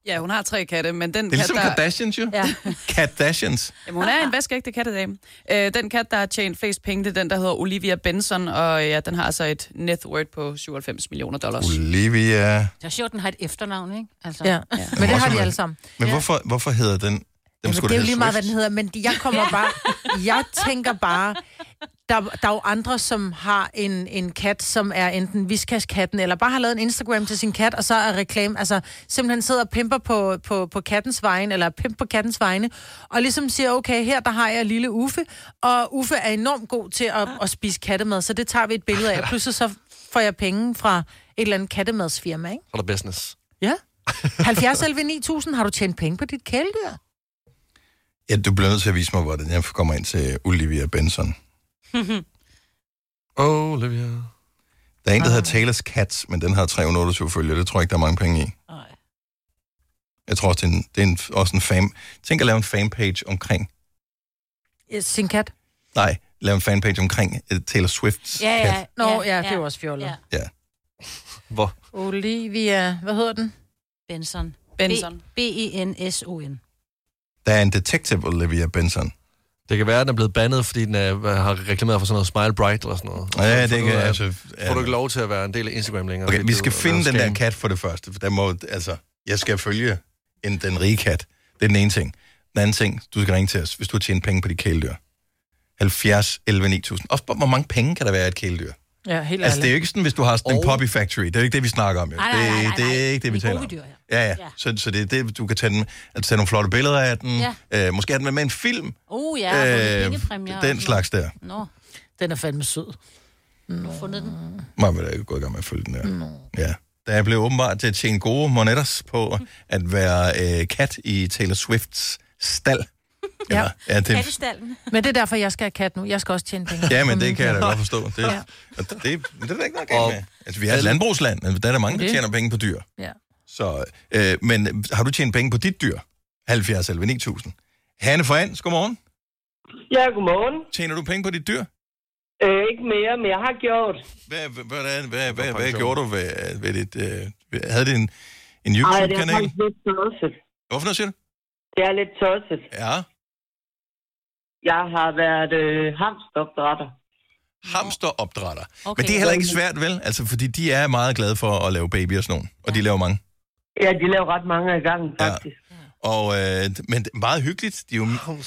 Ja, hun har tre katte, men den Det er ligesom kat, der... Kardashians, [laughs] jo. Ja. Kardashians. [laughs] Jamen, hun er en vaskeægte kattedame. Øh, den kat, der har tjent flest penge, det er den, der hedder Olivia Benson, og ja, den har altså et net worth på 97 millioner dollars. Olivia... Det er sjovt, den har et efternavn, ikke? Altså. Ja. Ja. Men det har Også de med- alle sammen. Men hvorfor, hvorfor hedder den... Den Jamen, det skulle er jo da lige hedde meget, hvad Swift. den hedder, men [laughs] jeg kommer bare... Jeg tænker bare... Der, der er jo andre, som har en, en kat, som er enten viskaskatten, eller bare har lavet en Instagram til sin kat, og så er reklame, altså simpelthen sidder og pimper på, på, på kattens vegne, eller pimp på kattens vegne, og ligesom siger, okay, her der har jeg lille Uffe, og Uffe er enormt god til at, at spise kattemad, så det tager vi et billede [laughs] af. Pludselig så får jeg penge fra et eller andet kattemadsfirma, ikke? Så er der business. [laughs] Ja. 70 11 9000, har du tjent penge på dit kæledyr? Ja, du bliver nødt til at vise mig, hvordan jeg kommer ind til Olivia Benson. Mhm. Olivia. Der er en, der Ah. hedder Taylor's Cats, men den har 328 følgere. Det tror jeg ikke, der er mange penge i. Nej. Jeg tror også, det er, en, det er en, også en fan... Tænk at lave en fanpage omkring... Ja, Sin kat? Nej, lave en fanpage omkring uh, Taylor Swift's kat. Nå, ja, det er jo også fjollet. Ja. Ja. Hvor? Olivia, hvad hedder den? Benson. Benson. B- E B-E-N-S-O-N. Der er en detective Olivia Benson. Det kan være, at den er blevet bandet, fordi den er, hvad, har reklameret for sådan noget Smile Bright eller sådan noget. Ja, det Får kan- du, øh, altså, ja. Får du ikke lov til at være en del af Instagram længere? Okay, fordi vi du skal er finde en den der scam. kat for det første. for Der må, altså, jeg skal følge en, den rige kat. Det er den ene ting. Den anden ting, du skal ringe til os, hvis du har tjent penge på dit kæledyr. 70, 11, 9000. Også bare, hvor mange penge kan der være i et kæledyr? Ja, helt altså, det er jo ikke sådan, hvis du har sådan en Og- Poppy Factory. Det er jo ikke det, vi snakker om. Jo. Nej, nej, nej, nej, det, det er nej. ikke det, vi Det er taler gode om. dyr, ja. ja, ja. Så, så det er det, du kan tage, den, altså, tage nogle flotte billeder af den. Ja. Øh, måske have den med, med en film. Uh, ja, øh, den pengepræmier. slags der. Nå. Den er fandme sød. Nu fundet den. Man vil da ikke gå i gang med at følge den der. Ja. Der jeg blev åbenbart til at tjene gode monetters på at være øh, kat i Taylor Swifts stald. Ja. Ja, det, Kattestallen. Men det er derfor, jeg skal have kat nu. Jeg skal også tjene penge. ja men På min det kan jeg da kat. godt forstå. Det, Ja. ja. det, det, det er der ikke noget galt med. Altså, vi er et landbrugsland, men der er der mange, der Det- tjener penge på dyr. Ja. Så, øh, men har du tjent penge på dit dyr? 70 eller 9000. Hanne for Ans, godmorgen. Ja, godmorgen. Tjener du penge på dit dyr? Øh, ikke mere, men jeg har gjort. Hvad, hvad, hvad, hvad, hvad, hvad gjorde du ved, ved dit... Øh, ved- havde det en, en Ej, det er YouTube-kanal? faktisk lidt tosset. Hvorfor noget siger du? Det er lidt tosset. Ja. Jeg har været øh, hamsteropdrætter. Hamsteropdrætter. Okay. Men det er heller ikke svært, vel? Altså, fordi de er meget glade for at lave baby og sådan nogle, og de laver mange. Ja, de laver ret mange af gangen, faktisk. Ah, Og, øh, men det er meget hyggeligt. De er jo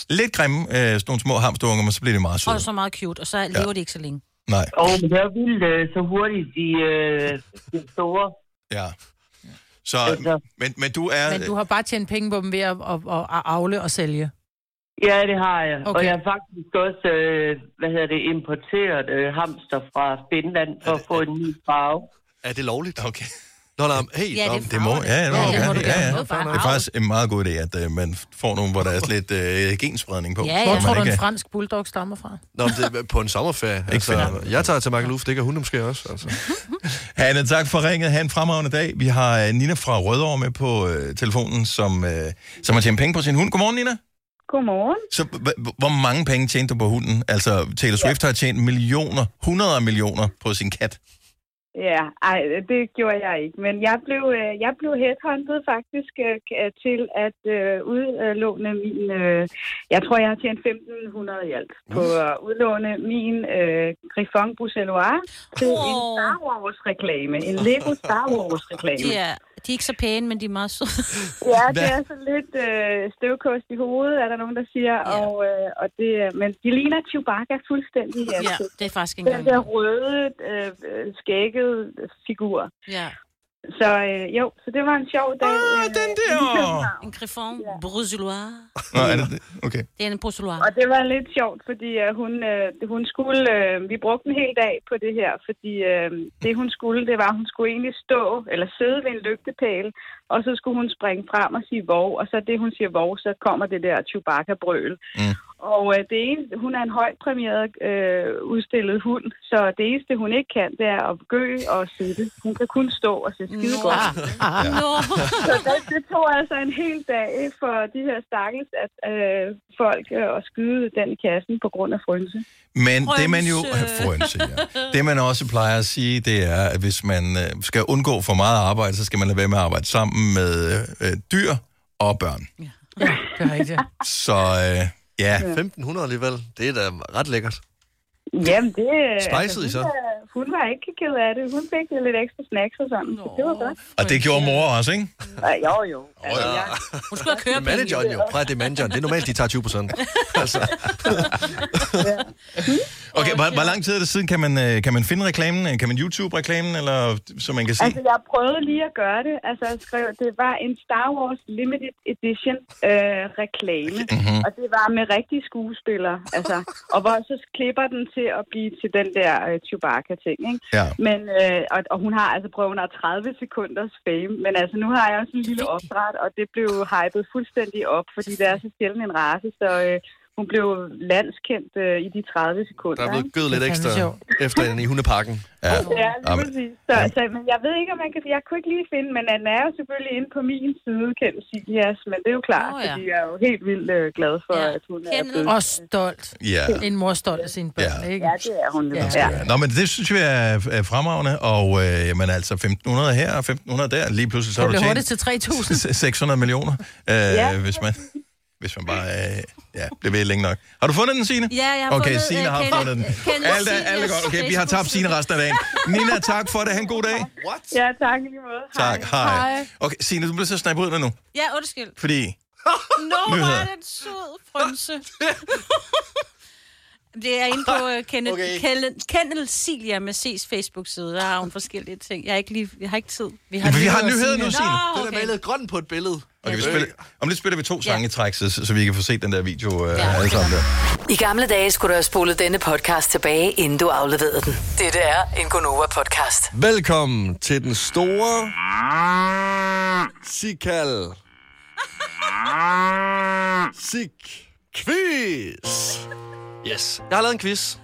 lidt grimme, øh, sådan nogle små hamsterunger, men så bliver de meget søde. Og så meget cute, og så lever de ikke så længe. Nej. Ja. Og det er vildt øh, så hurtigt, de, øh, de er store. Altså. Ja. Så, men, men du er... Men du har bare tjent penge på dem ved at, at, at at avle og sælge. Ja, det har jeg. Okay. Og Okay. jeg har faktisk også, øh, hvad hedder det, importeret øh, hamster fra Finland for at få en ny farve. Er det lovligt? Okay. Nå, nå, hey, Ja, nå, det er Det må, ja, det må Ja, du det må gerne. du Ja, gerne. ja. Noget Det farve. er faktisk en meget god idé, at øh, man får nogle, hvor der er lidt øh, genspredning på. Ja, ja. så Hvor man tror du, ikke en er- fransk bulldog stammer fra? Nå, men det er på en sommerferie. Ikke altså, jeg tager til Michael Uff, det gør hun måske også. Altså. Hanne, tak for ringet. Ha' en fremragende dag. Vi har øh, Nina fra Rødovre med på øh, telefonen, som, øh, som har tjent penge på sin hund. Godmorgen, Nina. Godmorgen. Så h- h- hvor mange penge tjente du på hunden? Altså, Taylor Swift ja. har tjent millioner, hundreder af millioner på sin kat. Ja, ej, det gjorde jeg ikke. Men jeg blev, øh, jeg blev headhunted faktisk øh, k- øh, til at øh, udlåne min... Øh, jeg tror, jeg har tjent 1.500 i alt på at udlåne min øh, Griffon Bruxellois til oh. en Star Wars-reklame. En Lego Star Wars-reklame. De er, de er ikke så pæne, men de er meget søde. [laughs] Ja, det er så lidt øh, støvkost i hovedet, er der nogen, der siger. Ja. Og, øh, og det, er- men de ligner Chewbacca fuldstændig. Ja, det er faktisk ikke Den engang der røde, øh, øh, skækkede figur. Ja. Så øh, jo, så det var en sjov dag. Ah, den der! En Griffon ja. Bruxellois. Nå, er det det? Okay. Det er en Bruxellois. Og det var lidt sjovt, fordi øh, hun, øh, hun skulle, øh, vi brugte en hel dag på det her, fordi øh, det hun skulle, det var, at hun skulle egentlig stå eller sidde ved en lygtepæl, og så skulle hun springe frem og sige vov, og så det hun siger vov, så kommer det der Chewbacca-brøl. Mm. Og øh, det eneste, hun er en højt præmieret øh, udstillet hund, så det eneste hun ikke kan, det er at gø og sitte. Hun kan kun stå og se skide godt. Ja. Nå. Så det, det tog altså en hel dag for de her stakkels at, øh, folk øh, at skyde den i kassen på grund af frynse. Men det man jo... [laughs] Frynse. Frønse, ja. Det man også plejer at sige, det er, at hvis man øh, skal undgå for meget arbejde, så skal man lade være med at arbejde sammen med øh, dyr og børn. Det er rigtigt. Så øh, ja. 1.500 alligevel, det er da ret lækkert. Jamen det... Spicede I så? Hun, var- hun var ikke ked af det. Hun fik lidt ekstra snacks og sådan. Nå. Det var godt. Og det gjorde mor også, ikke? Ja, jo, jo. Altså, ja. jeg, Hun skulle have Det er manageren jo. Prøv at det er manageren. Det er normalt, de tager 20 procent. Altså. Okay, hvor, hvor lang tid er det siden? Kan man, øh, kan man finde reklamen? Øh, Kan man YouTube-reklamen, eller så man kan se? altså, jeg prøvede lige at gøre det. Altså, jeg skrev, det var en Star Wars Limited Edition øh, reklame. Mhm. Og det var med rigtige skuespillere. Altså, og hvor så klipper den til at blive til den der øh, Chewbacca-ting, ikke? Ja. Men, øh, og, og hun har altså prøvet, hun har 30 sekunders fame, men altså nu har jeg også en lille opdræt, og det blev hypet fuldstændig op, fordi det er så sjældent en race, så øh, hun blev landskendt øh, i de 30 sekunder. Der er blevet ikke? gødet lidt ekstra efter den i hundeparken. Ja. Ja, lige præcis. Så, så, men jeg ved ikke, om man kan... Jeg kunne ikke lige finde, men den er jo selvfølgelig inde på min side, Kjeld Sigias, men det er jo klart, Nå, oh, ja. ja. fordi jeg er jo helt vildt øh, glad for, ja. at hun er blevet... Og stolt. Ja. En mor er stolt af sine børn, ja. ikke? Ja, det er hun. Ja. Ja. Nå, men det synes vi er, er fremragende, og øh, jamen, altså 1.500 her og 1.500 der, lige pludselig så Det har du blev hurtigt tjent til 3.000. se- 600 millioner, øh, Ja. ja. hvis, man, hvis man bare øh, ja, blev ved længe nok. Har du fundet den, Signe? Ja, jeg har okay, fundet, Signe øh, har Kenneth- fundet den. øh, Kenneth Alt er, alt er Signes godt. Okay, vi har tabt Signe resten af [laughs] dagen. Nina, tak for det. Ha' en god dag. What? Ja, tak i lige måde. Tak, hej. Hej. Okay, Signe, du bliver så snappet ud med nu, Ja, [laughs] undskyld. fordi... Nå, hvor Nyheder. er den sød, frømse. Det er inde [laughs] på uh, Kenneth, Okay. okay. Kenneth, Kenneth Silja med C's Facebook-side. Der har hun forskellige ting. Jeg har ikke, lige, jeg har ikke tid. Vi Men vi har nyheder nu, Signe. Nå, Den er malet grøn på et billede. Okay, vi spiller, om lidt spiller vi to sange i træk, så, så vi kan få set den der video øh, alle sammen der. I gamle dage skulle du have spolet denne podcast tilbage, inden du afleverede den. Dette er en Gonova-podcast. Velkommen til den store... Sikal. Sik. Quiz. Yes. Jeg har lavet en quiz.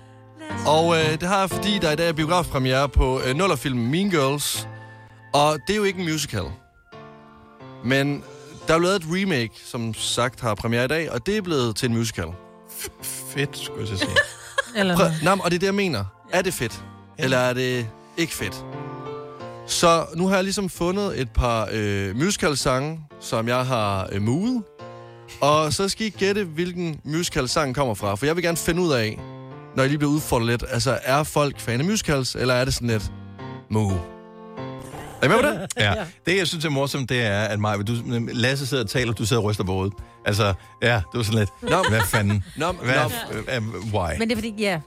Og øh, det har jeg, fordi der i dag er biografpremiere på øh, nullerfilmen Mean Girls. Og det er jo ikke en musical. Men der er blevet lavet et remake, som sagt har premiere i dag, og det er blevet til en musical. Fedt, skulle jeg så sige. Eller Prøv, nej, men- og det er det, jeg mener. Er det fedt? Eller er det ikke fedt? Så nu har jeg ligesom fundet et par øh, musical-sange, som jeg har øh, muget. Og så skal I gætte, hvilken musical-sang kommer fra. For jeg vil gerne finde ud af, når I lige bliver udfordret lidt, altså er folk fan af musicals, eller er det sådan lidt muge? Er I med på det? Ja. Det, jeg synes er morsomt, det er, at Maja, du, Lasse sidder og taler, du sidder og ryster på hovedet. Altså, ja, det var sådan lidt, Nå. hvad fanden? Nå, hvad, øh, øh, why? Men det er fordi, ja.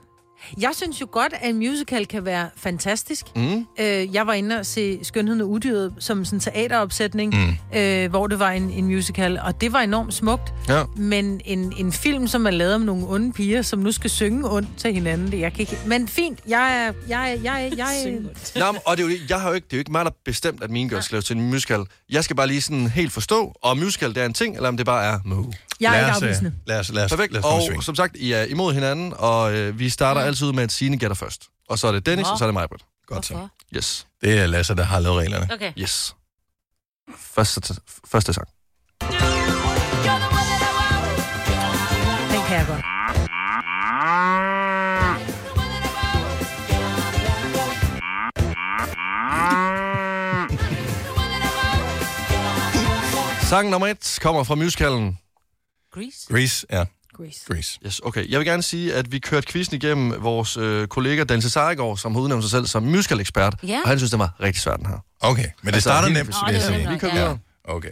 Jeg synes jo godt, at en musical kan være fantastisk. Mm. Øh, jeg var inde og se Skønheden og Udyret som sådan en teateropsætning, Mm. mm. øh, hvor det var en, en musical, og det var enormt smukt. Ja. Men en, en film, som er lavet om nogle onde piger, som nu skal synge ondt til hinanden, det jeg kan ikke... Men fint, jeg er... Jeg, er- jeg, er- jeg, jeg, Nå, men- og det er, jo, jeg har jo ikke, det er jo ikke mig, der har bestemt, at mine gør skal laves til en musical. Jeg skal bare lige sådan helt forstå, om musical det er en ting, eller om det bare er muge. Jeg er Lad ikke os, øh, afvisende. Lad os, lad os, Perfekt. lad os få en og sving. som sagt, I er imod hinanden, og øh, vi starter altid ud med, at Signe gætter først. Og så er det Dennis, Nå. og så er det mig, Britt. Godt så. Yes. Det er Lasse, der har lavet reglerne. Okay. Yes. Første, første sang. Den kan jeg godt. Sang nummer et kommer fra musicalen. Grease? Grease, ja. Grease. Grease. Yes, okay. Jeg vil gerne sige, at vi kørte quizzen igennem vores øh, kollega Dan Cesaregård, som har udnævnt sig selv som musical-ekspert, Ja. og han synes, det var rigtig svært, den her. Altså, Okay, men det starter helt- nemt, vil Nå, det jeg er sige. nemt nok, Vi kører ja. videre. Okay.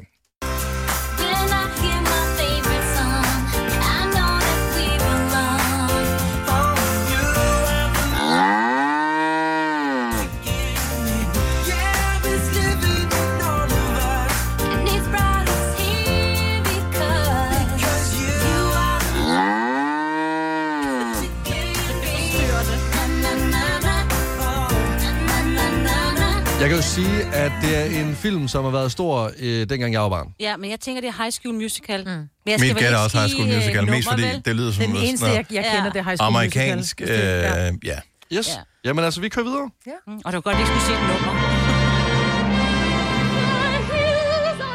Jeg kan jo sige, at det er en film, som har været stor, øh, dengang jeg var barn. Ja, men jeg tænker, det er High School Musical. Mm. Men Mit vel gæt er ikke også High School sige, øh, Musical, mest nummer, fordi vel? det lyder som Den noget eneste, sådan jeg, jeg noget- kender, det er High School Musical. Amerikansk, øh, Ja. ja. Yes. Ja. Jamen altså, vi kører videre. Mm. Og du godt, at ikke skulle se et nummer.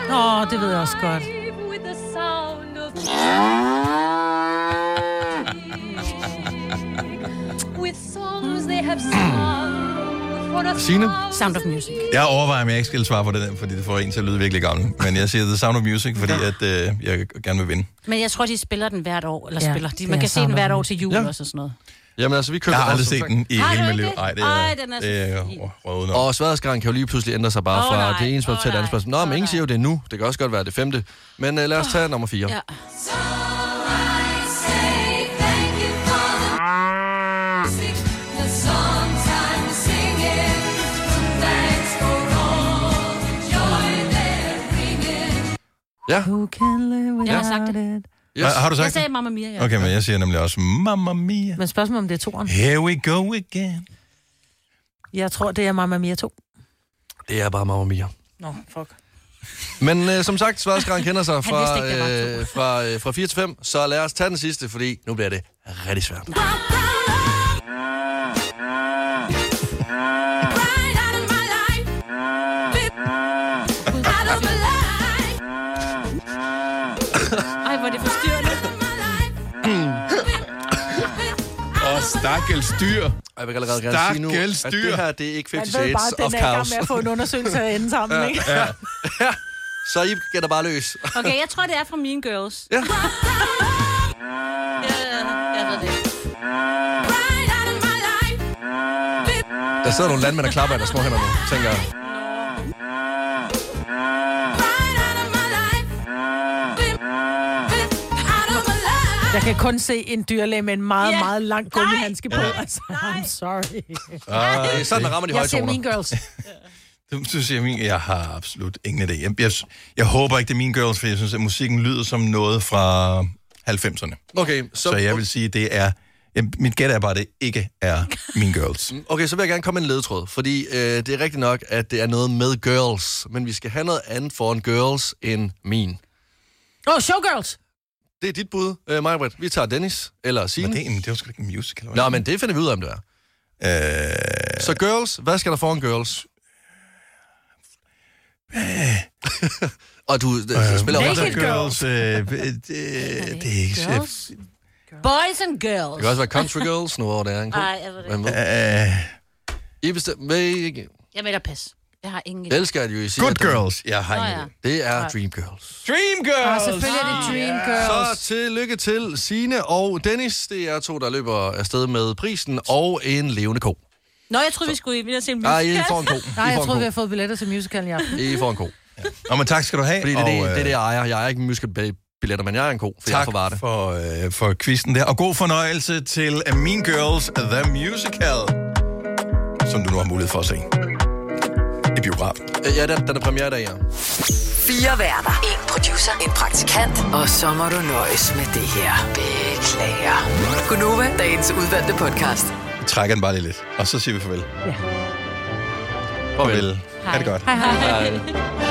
Åh, oh, det ved jeg også godt. With songs they have sung. Signe? Sound of Music. Jeg overvejer, om jeg ikke skal svare på det, der, fordi det får en til at lyde virkelig gammel. Men jeg siger The Sound of Music, fordi at, øh, jeg gerne vil vinde. Men jeg tror, de spiller den hvert år. Eller Ja, ja, spiller. De, det man er kan se den Sound hvert of år Music. til jul Ja. ja. og sådan noget. Jamen altså, vi kører Jeg også har aldrig som set sagt. den i Har du hele mit ikke liv. det? Nej, det Ej, er, den er så det er fin. røvet nok. Og sværdesgraden kan jo lige pludselig ændre sig bare Åh, fra nej. det ene spørgsmål til det andet spørgsmål. Nå, men ingen siger jo det er nu. Det kan også godt være det femte. Men uh, lad os tage nummer 4. Ja. Ja. Who can live Jeg har sagt det. Yes. Har du sagt Jeg sagde det? Mamma Mia, ja. Okay, men jeg siger nemlig også Mamma Mia. Men spørgsmålet om det er toren. Here we go again. Jeg tror, det er Mamma Mia 2. Det er bare Mamma Mia. Nå, fuck. Men uh, som sagt, sværdesgraden kender sig Han fra, vidste ikke, der uh, fra, uh, fra 4 til 5. Så lad os tage den sidste, fordi nu bliver det rigtig svært. Ej, hvor er det forstyrrende. [clears throat] Og stakkels dyr. Jeg vil allerede gerne sige nu, Stakkels at dyr. det her, det er ikke Man 50 ved Shades bare, at of den er i gang Chaos. med at få en undersøgelse af enden sammen, ikke? ja. Så I gætter bare løs. Okay, jeg tror, det er fra Mean Girls. [laughs] Ja. jeg ved det. Der sidder nogle landmænd og klapper i deres små hænder nu, tænker jeg. Jeg kan kun se en dyrlæge med en meget, Ja. yeah. meget lang gummihandske på. Ja. Altså, I'm sorry. Ah, Øh, det er sådan, der rammer de høje Jeg ser toner. Mean Girls. Det synes jeg, min, jeg har absolut ingen idé. Jeg, jeg, jeg håber ikke, det er mine girls, for jeg synes, at musikken lyder som noget fra 90'erne. Okay, Så, så jeg vil sige, det er... Jeg, mit gæt er bare, at det ikke er mine [laughs] girls. Okay, så vil jeg gerne komme med en ledtråd, fordi øh, det er rigtigt nok, at det er noget med girls, men vi skal have noget andet for en girls end min. Åh, oh, Showgirls! Det er dit bud, øh, Majbert. Vi tager Dennis eller Signe. Men det, det var sgu ikke en musical. Nå, men det finder vi ud af, om det er. Øh... Så girls, hvad skal der for en girls? [laughs] Og du øh, spiller Naked også... Girls. Øh, øh, det, det er ikke... Girls? Boys and girls. Det kan også være country girls, nu hvor det er en Ej, jeg ved det Hvem I bestem- ved I ikke. Jeg melder pas. Jeg har ingen Jeg elsker, at I siger... Good at det- Girls. Jeg har Nå, ingen ja. idé. Det er Nej. Dream Girls. Dream Girls! Ah, selvfølgelig er det Dream Girls. Så tillykke til Sine og Dennis. Det er to, der løber afsted med prisen og en levende ko. Nå, jeg troede, vi skulle ind og se en Nej, musical. I får en ko. Nej, I jeg får en tror, ko. vi har fået billetter til musicalen i aften. I får en ko. Nå, men tak skal du have. Fordi det, er og, det, øh, det er det, jeg ejer. Jeg er ikke en musical billetter, men jeg er en ko, for tak. jeg er Tak for Varde. for, øh, for quizzen der. Og god fornøjelse til øh, Mean Girls The Musical, som du nu har mulighed for at se i biografen. Øh, Ja, den, den er premiere i dag, ja. Fire værter. En producer. En praktikant. Og så må du nøjes med det her. Beklager. Gunova, dagens udvalgte podcast. Vi trækker den bare lige lidt, og så siger vi farvel. Ja. Farvel. Ha' det godt. Hej, hej. hej.